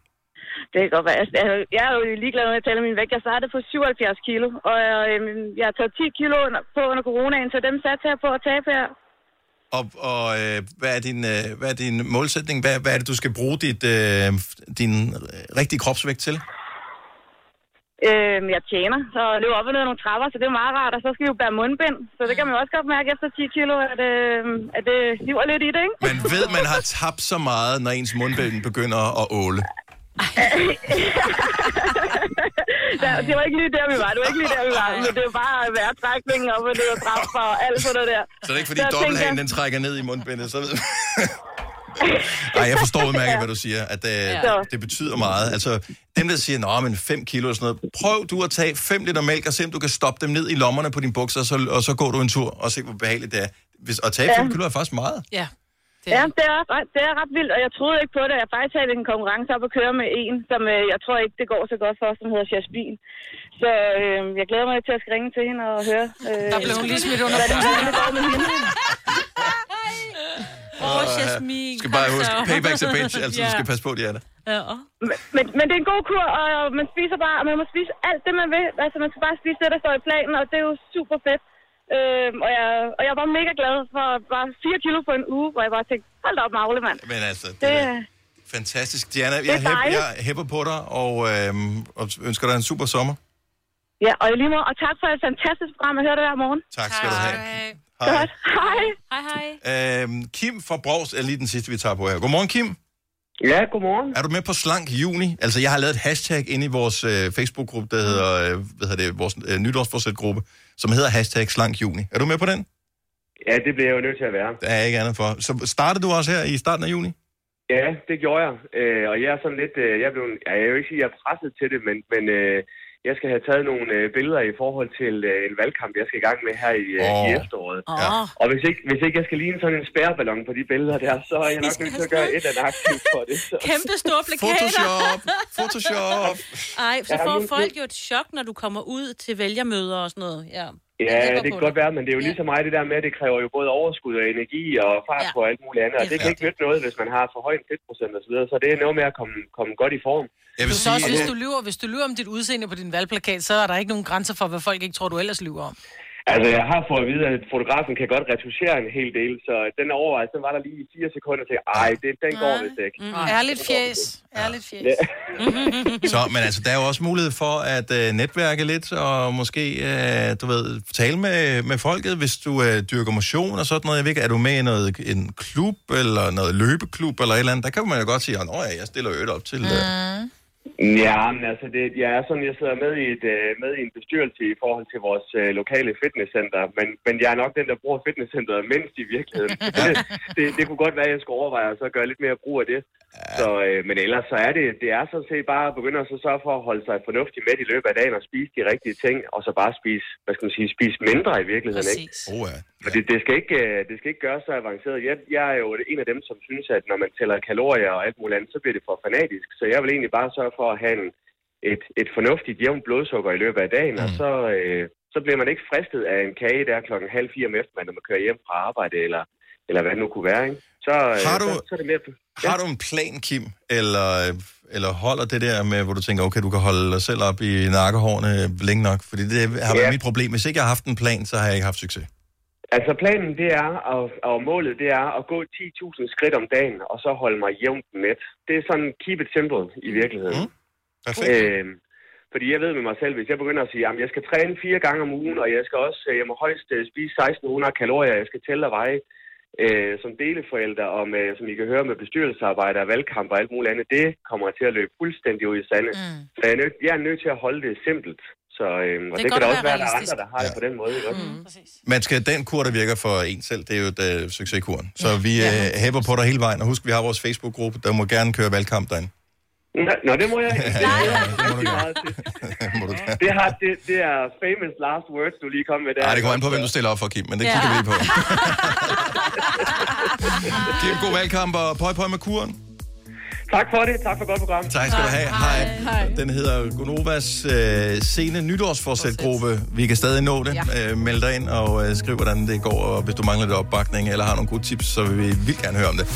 Speaker 7: Det kan godt være. Altså, Jeg, er jo- jeg er jo ligeglad, når jeg taler min vægt. Jeg startede på 77 kilo, og jeg, øhm, jeg har taget 10 kilo under, på under coronaen, så dem satte jeg på at tabe her.
Speaker 1: Og, og øh, hvad, er din, øh, hvad er din målsætning? Hvad, hvad er det, du skal bruge dit, øh, din øh, rigtige kropsvægt til?
Speaker 7: Øhm, jeg tjener, så løber op og ned ad nogle trapper, så det er jo meget rart. Og så skal vi jo bære mundbind, så det kan man jo også godt mærke efter 10 kilo, at, øhm, at det stiver lidt i det, ikke?
Speaker 1: Man ved, man har tabt så meget, når ens mundbind begynder at åle.
Speaker 7: Ja, det var ikke lige der, vi var. Det var ikke lige der, vi var. Men det var bare vejrtrækningen op og ned og trapper og alt sådan noget der.
Speaker 1: Så det er ikke, fordi
Speaker 7: Så jeg
Speaker 1: dobbelthagen
Speaker 7: tænker-
Speaker 1: den trækker ned i mundbindet, så ved man. Ej, jeg forstår udmærket, hvad du siger, at øh,
Speaker 7: Ja.
Speaker 1: det betyder meget. Altså, dem der siger, nå, men 5 kilo og sådan noget, prøv du at tage 5 liter mælk og se, om du kan stoppe dem ned i lommerne på dine bukser, og så, og så går du en tur og se, hvor behageligt det er. Hvis, at tage
Speaker 7: Ja.
Speaker 1: 5 kilo er faktisk meget.
Speaker 3: Ja.
Speaker 7: Det er... Ja, det er, ret- det er ret vildt, og jeg troede ikke på det. Jeg har faktisk havde en konkurrence op at køre med en, som øh, jeg tror ikke, det går så godt for, som hedder Jasmin. Så øh, jeg glæder mig til at skal ringe til hende og høre. Øh,
Speaker 3: Der blev hun lige smidt under
Speaker 7: hvad det-
Speaker 3: bussen.
Speaker 7: hvordan det går med hende.
Speaker 1: Åh, Jasmin, skal bare huske, paybacks a bitch, altså du skal passe på, Diana.
Speaker 7: Ja. Men, men det er en god kur, og man spiser bare, og man må spise alt det, man vil. Altså, man skal bare spise det, der står i planen, og det er jo super fedt. Øhm, og, jeg, og jeg var mega glad for bare 4 kilo på en uge, hvor jeg bare tænkte, hold da op, magle, mand.
Speaker 1: Men altså, det,
Speaker 7: Det,
Speaker 1: er fantastisk. Diana,
Speaker 7: det er
Speaker 1: jeg, hæb,
Speaker 7: dejligt.
Speaker 1: jeg hæpper på dig, og, øh, og ønsker dig en super sommer.
Speaker 7: ja, og i lige måde, og tak for et fantastisk program, jeg hører det hver morgen.
Speaker 1: Tak skal du have. Hej.
Speaker 7: Hej. Hej.
Speaker 2: Hej, hej.
Speaker 1: Øhm, Kim fra Brogs er lige den sidste, vi tager på her. Godmorgen, Kim.
Speaker 8: Ja, godmorgen.
Speaker 1: Er du med på Slank Juni? Altså, jeg har lavet et hashtag inde i vores øh, Facebook-gruppe, der hedder, øh, hvad hedder det, vores øh, nytårsforsæt-gruppe, som hedder hashtag Slank Juni. Er du med på den?
Speaker 8: Ja, det bliver jeg jo nødt til at være.
Speaker 1: Der er ikke andet for. Så startede du også her i starten af juni?
Speaker 8: Ja, det gjorde jeg. Øh, og jeg er sådan lidt, øh, jeg blev, ja, jeg vil ikke sige, at jeg er presset til det, men, men øh, jeg skal have taget nogle øh, billeder i forhold til øh, en valgkamp, jeg skal i gang med her i, øh, oh. i
Speaker 21: Åh.
Speaker 8: efteråret.
Speaker 21: Ja.
Speaker 8: Og hvis ikke, hvis ikke jeg skal ligne sådan en spærreballon på de billeder der, så er jeg nok nødt til at gøre et eller andet aktivt for det. Så.
Speaker 2: Kæmpe store plakater.
Speaker 8: Photoshop, Photoshop.
Speaker 2: Ej, så
Speaker 8: Ja,
Speaker 2: får
Speaker 8: men-
Speaker 2: folk jo et chok, når du kommer ud til vælgermøder og sådan noget. Ja,
Speaker 8: Ja, det kan godt være, men det er jo ligesom mig det der med, at det kræver jo både overskud og energi og fart på og alt muligt andet. Og det kan ikke nytte noget, hvis man har for høj en fedtprocent osv., så det er noget med at komme, komme godt i form.
Speaker 1: Jeg
Speaker 3: Du så også, hvis du lyver, hvis du lyver om dit udseende på din valgplakat, så er der ikke nogen grænser for, hvad folk ikke tror, du ellers lyver om.
Speaker 8: Altså, jeg har fået at vide, at fotografen kan godt retuschere en hel del, så den overvejelse den var der lige i fire sekunder til, ej, det, den går vist ikke.
Speaker 3: Mm. Ærligt fjes. Ærligt fjes.
Speaker 8: Ja.
Speaker 1: Så, men altså, der er jo også mulighed for at øh, netværke lidt, og måske, øh, du ved, tale med, med folket, hvis du øh, dyrker motion og sådan noget. Jeg ved ikke, er du med i noget, en klub, eller noget løbeklub, eller et eller andet? Der kan man jo godt sige, at ja, jeg stiller øvrigt op til... Øh,
Speaker 8: Ja, men altså, det, jeg er sådan, jeg sidder med i, et, øh, med i en bestyrelse i forhold til vores øh, lokale fitnesscenter, men, men jeg er nok den, der bruger fitnesscenteret mindst i virkeligheden. Så det, det, det kunne godt være, at jeg skulle overveje at så gøre lidt mere brug af det. Så, øh, men ellers så er det, det er sådan set bare at begynde at så sørge for at holde sig fornuftigt med i løbet af dagen og spise de rigtige ting, og så bare spise, hvad skal man sige, spise mindre i virkeligheden, ikke?
Speaker 1: Oh, ja.
Speaker 8: Fordi det skal ikke, øh, det skal ikke gøres så avanceret. Jeg, jeg er jo en af dem, som synes, at når man tæller kalorier og alt muligt andet, så bliver det for fanatisk. Så jeg vil egentlig bare sørge for at have en, et, et fornuftigt jævnt blodsukker i løbet af dagen, mm. og så, øh, så bliver man ikke fristet af en kage der klokken halv fire om eftermiddagen, når man kører hjem fra arbejde, eller, eller hvad det nu kunne være. Ikke? Så, øh,
Speaker 1: Har du-
Speaker 8: så, så er det mere...
Speaker 1: Har du en plan, Kim, eller, eller holder det der med, hvor du tænker, okay, du kan holde dig selv op i nakkehårene længe nok? Fordi det har været
Speaker 8: Ja.
Speaker 1: mit problem. Hvis ikke jeg har haft en plan, så har jeg ikke haft succes.
Speaker 8: Altså planen det er, og, og målet det er at gå 10.000 skridt om dagen, og så holde mig jævnt mæt. Det er sådan keep it simple i virkeligheden. Mm.
Speaker 1: Perfekt.
Speaker 8: Øhm, fordi jeg ved med mig selv, hvis jeg begynder at sige, at jeg skal træne fire gange om ugen, og jeg skal også, øh, jeg må højst øh, spise 1600 kalorier, jeg skal tælle og veje øh, som deleforældre, og med, som I kan høre med bestyrelsesarbejde og valgkamp og alt muligt andet, det kommer til at løbe fuldstændig ud i sande. Mm. Så jeg er, nødt, jeg er nødt til at holde det simpelt. Så, øhm, og det,
Speaker 1: Det er
Speaker 8: det
Speaker 1: godt
Speaker 8: kan da
Speaker 1: at
Speaker 8: også
Speaker 1: være
Speaker 8: være, at der er andre,
Speaker 1: realistisk.
Speaker 8: der har det på den måde. Ikke? Mm.
Speaker 1: Man skal den kur, der virker for en selv, det er jo et, øh, succeskuren. Så vi øh, hæber på dig hele vejen. Og husk, vi har vores Facebook-gruppe, der må gerne køre valgkamp derinde.
Speaker 8: Nå, det må jeg ikke. Det, det, det, har, det, det er famous last words, du lige kom med der.
Speaker 1: Nej, det kommer an på, hvem du stiller op for, Kim, men det kigger vi lige på. Kim, god valgkamp og pøj pøj med kuren.
Speaker 8: Tak for det. Tak for godt program.
Speaker 1: Tak skal du have. Hej. Den hedder Gonovas øh, sene nytårsforsætgruppe. Vi kan stadig nå det. Ja. Øh, meld dig ind og øh, skriv, hvordan det går, og hvis du mangler lidt opbakning eller har nogle gode tips, så vil vi vildt gerne høre om det.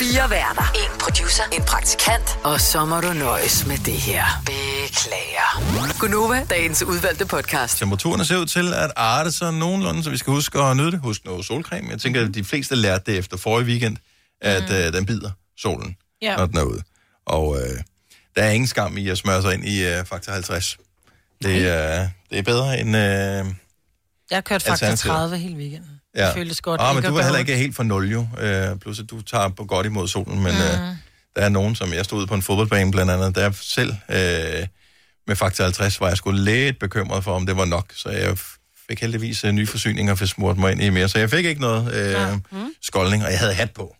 Speaker 5: Fire værter. En producer. En praktikant. Og så må du nøjes med det her. Beklager. Gunova, dagens udvalgte podcast.
Speaker 1: Temperaturen ser ud til at arte sig nogenlunde, så vi skal huske at nyde det. Husk noget solcreme. Jeg tænker, at de fleste lærte det efter forrige weekend, at mm. øh, den bider solen,
Speaker 11: Ja.
Speaker 1: når den er ude. Og øh, der er ingen skam i at smøre sig ind i øh, faktor 50. Det, er, det er bedre end... Øh,
Speaker 3: Jeg har kørt faktisk
Speaker 1: Alternativet.
Speaker 3: 30 hele weekenden.
Speaker 1: Ja.
Speaker 3: Det føltes godt.
Speaker 1: Ah,
Speaker 3: ikke
Speaker 1: men
Speaker 3: at
Speaker 1: du var
Speaker 3: gøre
Speaker 1: heller
Speaker 3: ondt.
Speaker 1: ikke helt for nul jo. Øh, plus at du tager på godt imod solen, men mm. øh, der er nogen, som jeg stod ude på en fodboldbane blandt andet, der selv øh, med faktor 50 var jeg sgu lidt bekymret for, om det var nok. Så jeg f- fik heldigvis øh, nye forsyninger for smurt mig ind i mere. Så jeg fik ikke noget øh, mm. skoldning, og jeg havde hat på.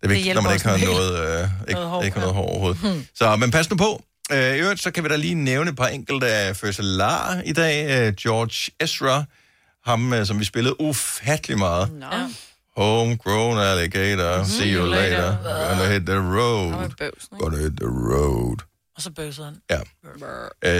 Speaker 1: Det er vigtigt, det når
Speaker 11: hjælper
Speaker 1: man ikke har
Speaker 11: også en
Speaker 1: noget, øh, ikke, noget hår, ikke har noget hår overhovedet. Hmm. Så, men pas nu på. Øh, I øvrigt, så kan vi da lige nævne et par enkelte af fødselarer i dag. Øh, George Ezra, ham, øh, som vi spillede ufattelig meget. No. Homegrown alligator, mm-hmm. see you later. Gonna hit the road. Gonna hit the road.
Speaker 3: Og så bøvsede han.
Speaker 1: Ja.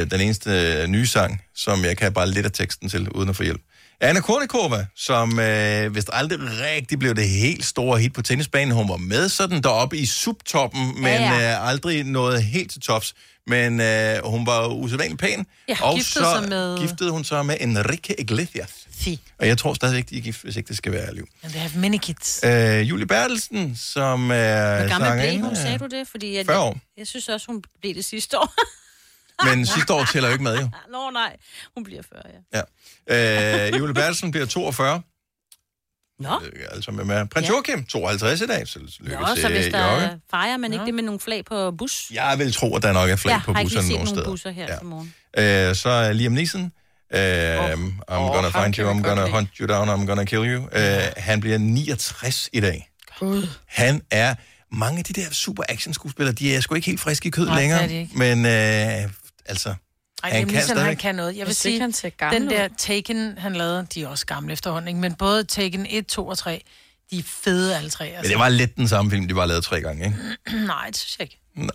Speaker 1: Øh, den eneste øh, nye sang, som jeg kan bare lidt af teksten til, uden at få hjælp. Anna Kournikova, som øh, vist aldrig rigtig blev det helt store hit på tennisbanen. Hun var med sådan deroppe i subtoppen, men ja,
Speaker 3: ja.
Speaker 1: ja. Øh, aldrig noget helt til tops. Men øh, hun var usædvanligt pæn,
Speaker 3: Ja,
Speaker 1: og
Speaker 3: giftede
Speaker 1: så
Speaker 3: sig med-
Speaker 1: giftede hun sig med Enrique Iglesias.
Speaker 3: Fy.
Speaker 1: Og jeg tror stadigvæk, de er gift, hvis ikke det skal være ærlig.
Speaker 3: Men det have many kids.
Speaker 1: Øh, Julie Bertelsen, som øh, er
Speaker 2: Hvor gammel blev hun,
Speaker 1: sangerinde.
Speaker 2: sagde du det? Fordi jeg,
Speaker 1: 40 år.
Speaker 2: jeg synes også, hun blev det sidste år.
Speaker 1: Men sidste år tæller jo ikke med, jo.
Speaker 2: Nå nej, hun bliver 40, ja.
Speaker 1: Ja. Øh, Julie Bertelsen bliver 42.
Speaker 2: Nå.
Speaker 1: Altså med, med. Prins
Speaker 2: Ja.
Speaker 1: Joachim, 52 i dag, så lykke
Speaker 2: Nå, så
Speaker 1: til
Speaker 2: hvis der
Speaker 1: Jokke.
Speaker 2: Jokke. fejrer man ikke det med nogle flag på bus?
Speaker 1: Jeg vil tro, at der nok er flag på
Speaker 2: har ikke lige
Speaker 1: busserne
Speaker 2: set
Speaker 1: nogle
Speaker 2: nogle
Speaker 1: steder.
Speaker 2: busser her ja. til morgen.
Speaker 1: Øh, så er Liam Neeson. Uh, I'm gonna find you, I'm gonna hunt you down, I'm gonna kill you. Uh, han bliver 69 i dag.
Speaker 3: Gud.
Speaker 1: Han er... Mange af de der super action skuespillere, de er sgu ikke helt friske i kød
Speaker 3: Nej, det er
Speaker 1: længere.
Speaker 3: de ikke.
Speaker 1: Men øh, altså,
Speaker 3: Ej,
Speaker 1: han kan stadigvæk.
Speaker 3: han kan noget. Jeg vil
Speaker 4: Hvis ikke
Speaker 3: sige,
Speaker 4: han ser gammel
Speaker 3: den
Speaker 4: ud.
Speaker 3: der Taken, han lavede, de er også gamle efterhånden, ikke? men både Taken 1, 2 og 3, de er fede alle tre. altså.
Speaker 1: Men det var lidt den samme film, de bare lavede tre gange, ikke?
Speaker 3: Nej, det synes jeg ikke.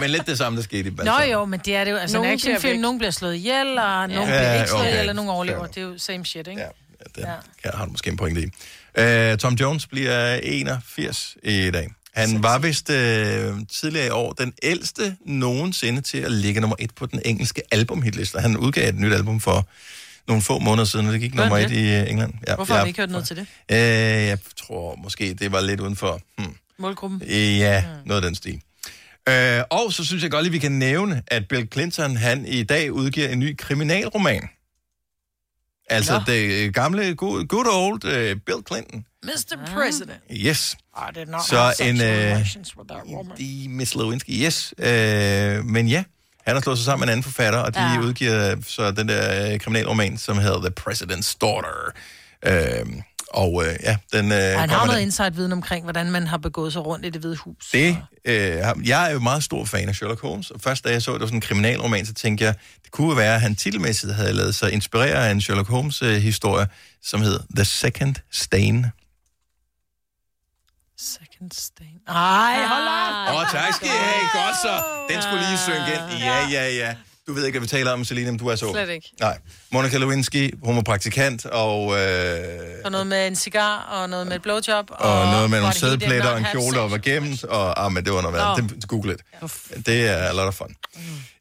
Speaker 1: Men lidt det samme, der skete i Balsam.
Speaker 3: Nå jo, men det er det jo. Altså,
Speaker 4: Nogen
Speaker 3: nogen en
Speaker 4: bliver
Speaker 3: actionfilm,
Speaker 4: væk.
Speaker 3: nogen bliver slået ihjel, og ja. nogen bliver
Speaker 1: Ja,
Speaker 3: ikke slået
Speaker 1: okay.
Speaker 3: ihjel, eller nogen overlever.
Speaker 1: Fair
Speaker 3: Det er jo same shit, ikke? Ja,
Speaker 1: det er Jeg har du måske en pointe i. Uh, Tom Jones bliver 81 i dag. Han var vist øh, tidligere i år den ældste nogensinde til at ligge nummer et på den engelske albumhitliste. Han udgav et nyt album for nogle få måneder siden, og det gik
Speaker 3: Gør han
Speaker 1: nummer et
Speaker 3: det?
Speaker 1: i øh, England. Ja,
Speaker 3: Hvorfor har vi ikke hørt noget til det?
Speaker 1: Øh, jeg tror måske, det var lidt udenfor. Hmm.
Speaker 3: Målgruppen?
Speaker 1: Øh, Ja,
Speaker 3: Mm.
Speaker 1: noget af den stil. Øh, og så synes jeg godt lige, vi kan nævne, at Bill Clinton, han i dag udgiver en ny kriminalroman. Altså
Speaker 3: Nå.
Speaker 1: Nå. det øh, gamle, good, good old øh, Bill Clinton.
Speaker 3: Mr. President.
Speaker 1: Yes.
Speaker 3: I did not
Speaker 1: Så
Speaker 3: have
Speaker 1: en,
Speaker 3: sexual
Speaker 1: øh,
Speaker 3: relations with that woman.
Speaker 1: I Miss Lewinsky, yes. Øh, men ja, han har slået sig sammen med en anden forfatter, og de ja. udgiver så den der øh, kriminalroman, som hedder The President's Daughter. Øh, Og øh, ja, den øh,
Speaker 3: Han har
Speaker 1: kommer
Speaker 3: noget
Speaker 1: den.
Speaker 3: insight-viden omkring, hvordan man har begået sig rundt i det hvide hus.
Speaker 1: Det, øh, har- jeg er jo meget stor fan af Sherlock Holmes, og først da jeg så, at det var sådan en kriminalroman, så tænkte jeg, det kunne jo være, at han titelmæssigt havde lavet sig inspirere af en Sherlock Holmes-historie, som hedder The Second Stain.
Speaker 3: Second stain. Ej, hold op!
Speaker 1: Åh, oh, tak skal I have. Godt så. Den skulle lige synge ind. Ja, ja, ja. Du ved ikke, hvad vi taler om, Selina, men du er så.
Speaker 3: Ah, Slet ikke.
Speaker 1: Nej. Monica Lewinsky, hun var praktikant, og, øh,
Speaker 3: Og noget med en cigar, og noget med et blowjob.
Speaker 1: og noget
Speaker 3: var
Speaker 1: med nogle
Speaker 3: det hele det,
Speaker 1: sædpletter
Speaker 3: not
Speaker 1: og en
Speaker 3: have
Speaker 1: kjole,
Speaker 3: sex?
Speaker 1: der var gemt, og ah, men det var noget værd.
Speaker 3: Nå. Mm.
Speaker 1: Det, Google det. Det er a lot of fun.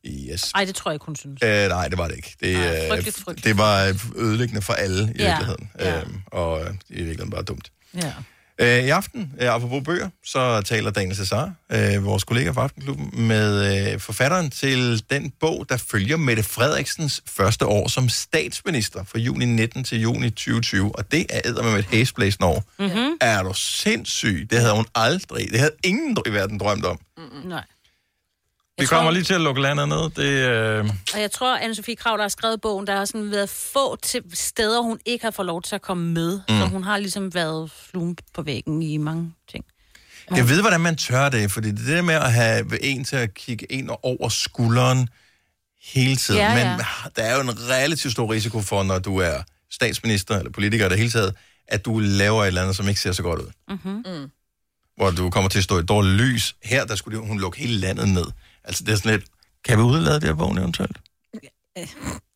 Speaker 1: Yes.
Speaker 2: Ej, det tror jeg ikke, hun synes.
Speaker 1: Øh, nej, det var det ikke. Det, øh,
Speaker 2: frygteligt, frygteligt.
Speaker 1: det var ødelæggende for alle i
Speaker 2: Ja,
Speaker 1: virkeligheden. Øh, og øh, i virkeligheden bare dumt.
Speaker 2: Ja.
Speaker 1: Øh, I aften, øh, apropos bøger, så taler Daniel Cesar, øh, vores kollega fra Aftenklubben, med øh, forfatteren til den bog, der følger Mette Frederiksens første år som statsminister fra juni 19 til juni 2020. Og det er æder med et hæsblæsende år.
Speaker 2: Mm-hmm.
Speaker 1: Er du sindssyg? Det havde hun aldrig. Det havde ingen i verden drømt om.
Speaker 2: Nej.
Speaker 1: Vi kommer lige til at lukke landet ned. Det, øh...
Speaker 2: Og jeg tror, anne Sofie Krav, der har skrevet bogen, der har sådan været få til steder, hun ikke har fået lov til at komme med. Mm. Så
Speaker 1: Mm.
Speaker 2: hun har ligesom været flum på væggen i mange ting.
Speaker 1: Jeg ved, hvordan man tør det, fordi det der med at have en til at kigge en over skulderen hele tiden,
Speaker 2: Ja,
Speaker 1: men
Speaker 2: ja.
Speaker 1: der er jo en relativt stor risiko for, når du er statsminister eller politiker i det hele taget, at du laver et eller andet, som ikke ser så godt ud.
Speaker 11: Mm-hmm. Mm.
Speaker 1: Hvor du kommer til at stå i et dårligt lys. Her, der skulle de- hun lukke hele landet ned. Altså, det er sådan lidt, kan vi udlade det her bogen eventuelt?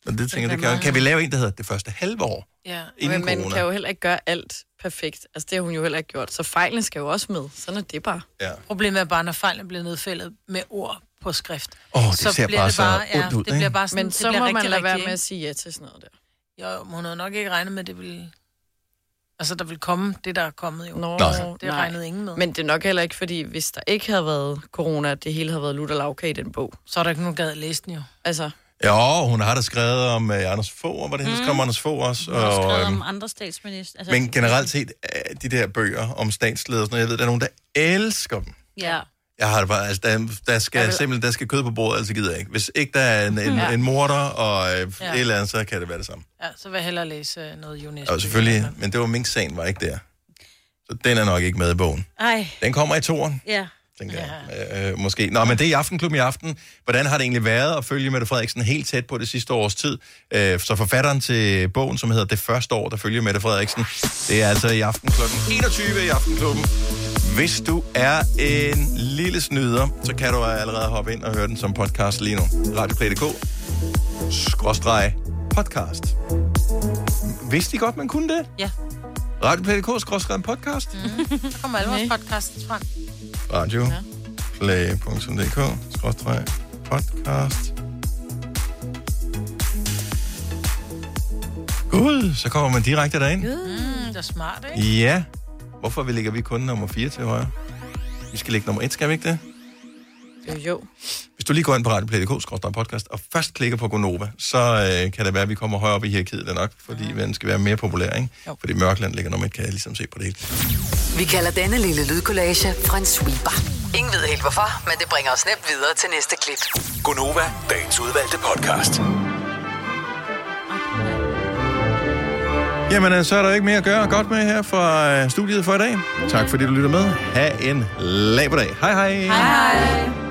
Speaker 1: Og det tænker jeg, det kan, kan vi lave en, der hedder det første halve år?
Speaker 4: Ja,
Speaker 1: Inden
Speaker 4: men man
Speaker 1: corona.
Speaker 4: kan jo heller ikke gøre alt perfekt. Altså, det har hun jo heller ikke gjort. Så fejlen skal jo også med. Sådan er det bare.
Speaker 1: Ja.
Speaker 3: Problemet er bare, når fejlen bliver nedfældet med ord på skrift.
Speaker 1: Åh, det ser bare så ondt ud,
Speaker 3: det
Speaker 1: ikke?
Speaker 3: bliver bare sådan,
Speaker 4: Men
Speaker 3: det
Speaker 4: så
Speaker 3: bliver
Speaker 4: må
Speaker 3: rigtig,
Speaker 4: man lade
Speaker 3: rigtig,
Speaker 4: være
Speaker 3: ikke?
Speaker 4: med at sige ja til sådan noget der.
Speaker 3: Jo, men hun havde nok ikke regnet med, at det ville... Altså, der ville komme det, der er kommet jo.
Speaker 4: Nå,
Speaker 3: Altså, det regnede ingen med.
Speaker 4: Men det er nok heller ikke, fordi hvis der ikke havde været corona, at det hele havde været lutter lavkage i den bog.
Speaker 3: Så er der ikke nogen gad at læse den jo.
Speaker 4: Altså,
Speaker 1: Jo, hun har da skrevet om uh, Anders Fogh, og var det hende, mm. skrev om Anders Fogh også?
Speaker 2: Hun har skrevet
Speaker 1: øhm,
Speaker 2: om andre statsminister. Altså,
Speaker 1: Men generelt set, øh, de der bøger om statsledere, og sådan noget, jeg ved, der er nogen, der elsker dem.
Speaker 2: Ja.
Speaker 1: Jeg har det bare, altså, der, der skal simpelthen, der skal kød på bordet, altså gider jeg ikke. Hvis ikke der er en, en,
Speaker 3: Ja.
Speaker 1: en morder og øh,
Speaker 3: Ja.
Speaker 1: ja. et eller andet, så kan det være det samme.
Speaker 3: Ja, så vil jeg hellere læse øh, noget UNESCO.
Speaker 1: Og selvfølgelig, men det var Mink-sagen, var ikke der. Så den er nok ikke med i bogen.
Speaker 2: Ej,
Speaker 1: Den kommer i toren,
Speaker 2: ja.
Speaker 1: tænker jeg. Øh, måske. Nå, men det er i Aftenklubben i aften. Hvordan har det egentlig været at følge Mette Frederiksen helt tæt på det sidste års tid? Øh, så forfatteren til bogen, som hedder Det første år, der følger Mette Frederiksen, det er altså i aften klokken 21 i Aftenklubben. Hvis du er en lille snyder, så kan du allerede hoppe ind og høre den som podcast lige nu. Radioplay.dk skråstreg podcast. Vidste I godt, man kunne det?
Speaker 3: Ja.
Speaker 1: Radioplay.dk skråstreg podcast.
Speaker 3: Mm. Så kommer alle vores podcasts frem.
Speaker 1: Radioplay.dk skråstreg podcast. Gud, så kommer man direkte derind.
Speaker 3: Mm, det er smart, ikke?
Speaker 1: Ja. Hvorfor ligger vi kun nummer 4 til højre? Vi skal ligge nummer 1, skal vi ikke det?
Speaker 4: jo jo.
Speaker 1: Hvis du lige går ind på radioplay.dk podcast og først klikker på Gonova, så øh, kan det være, at vi kommer højere op i hierarkiet end nok, fordi ja. den skal være mere populær, ikke? Jo. Fordi Mørkland ligger nummer 1, kan jeg ligesom se på det hele.
Speaker 5: Vi kalder denne lille lydkollage en sweeper. Ingen ved helt hvorfor, men det bringer os nemt videre til næste klip.
Speaker 12: Gonova, dagens udvalgte podcast.
Speaker 1: Jamen, øh, så er der ikke mere at gøre godt med her fra øh, studiet for i dag. Tak fordi du lytter med. Ha' en laberdag. Hej hej.
Speaker 11: Hej hej.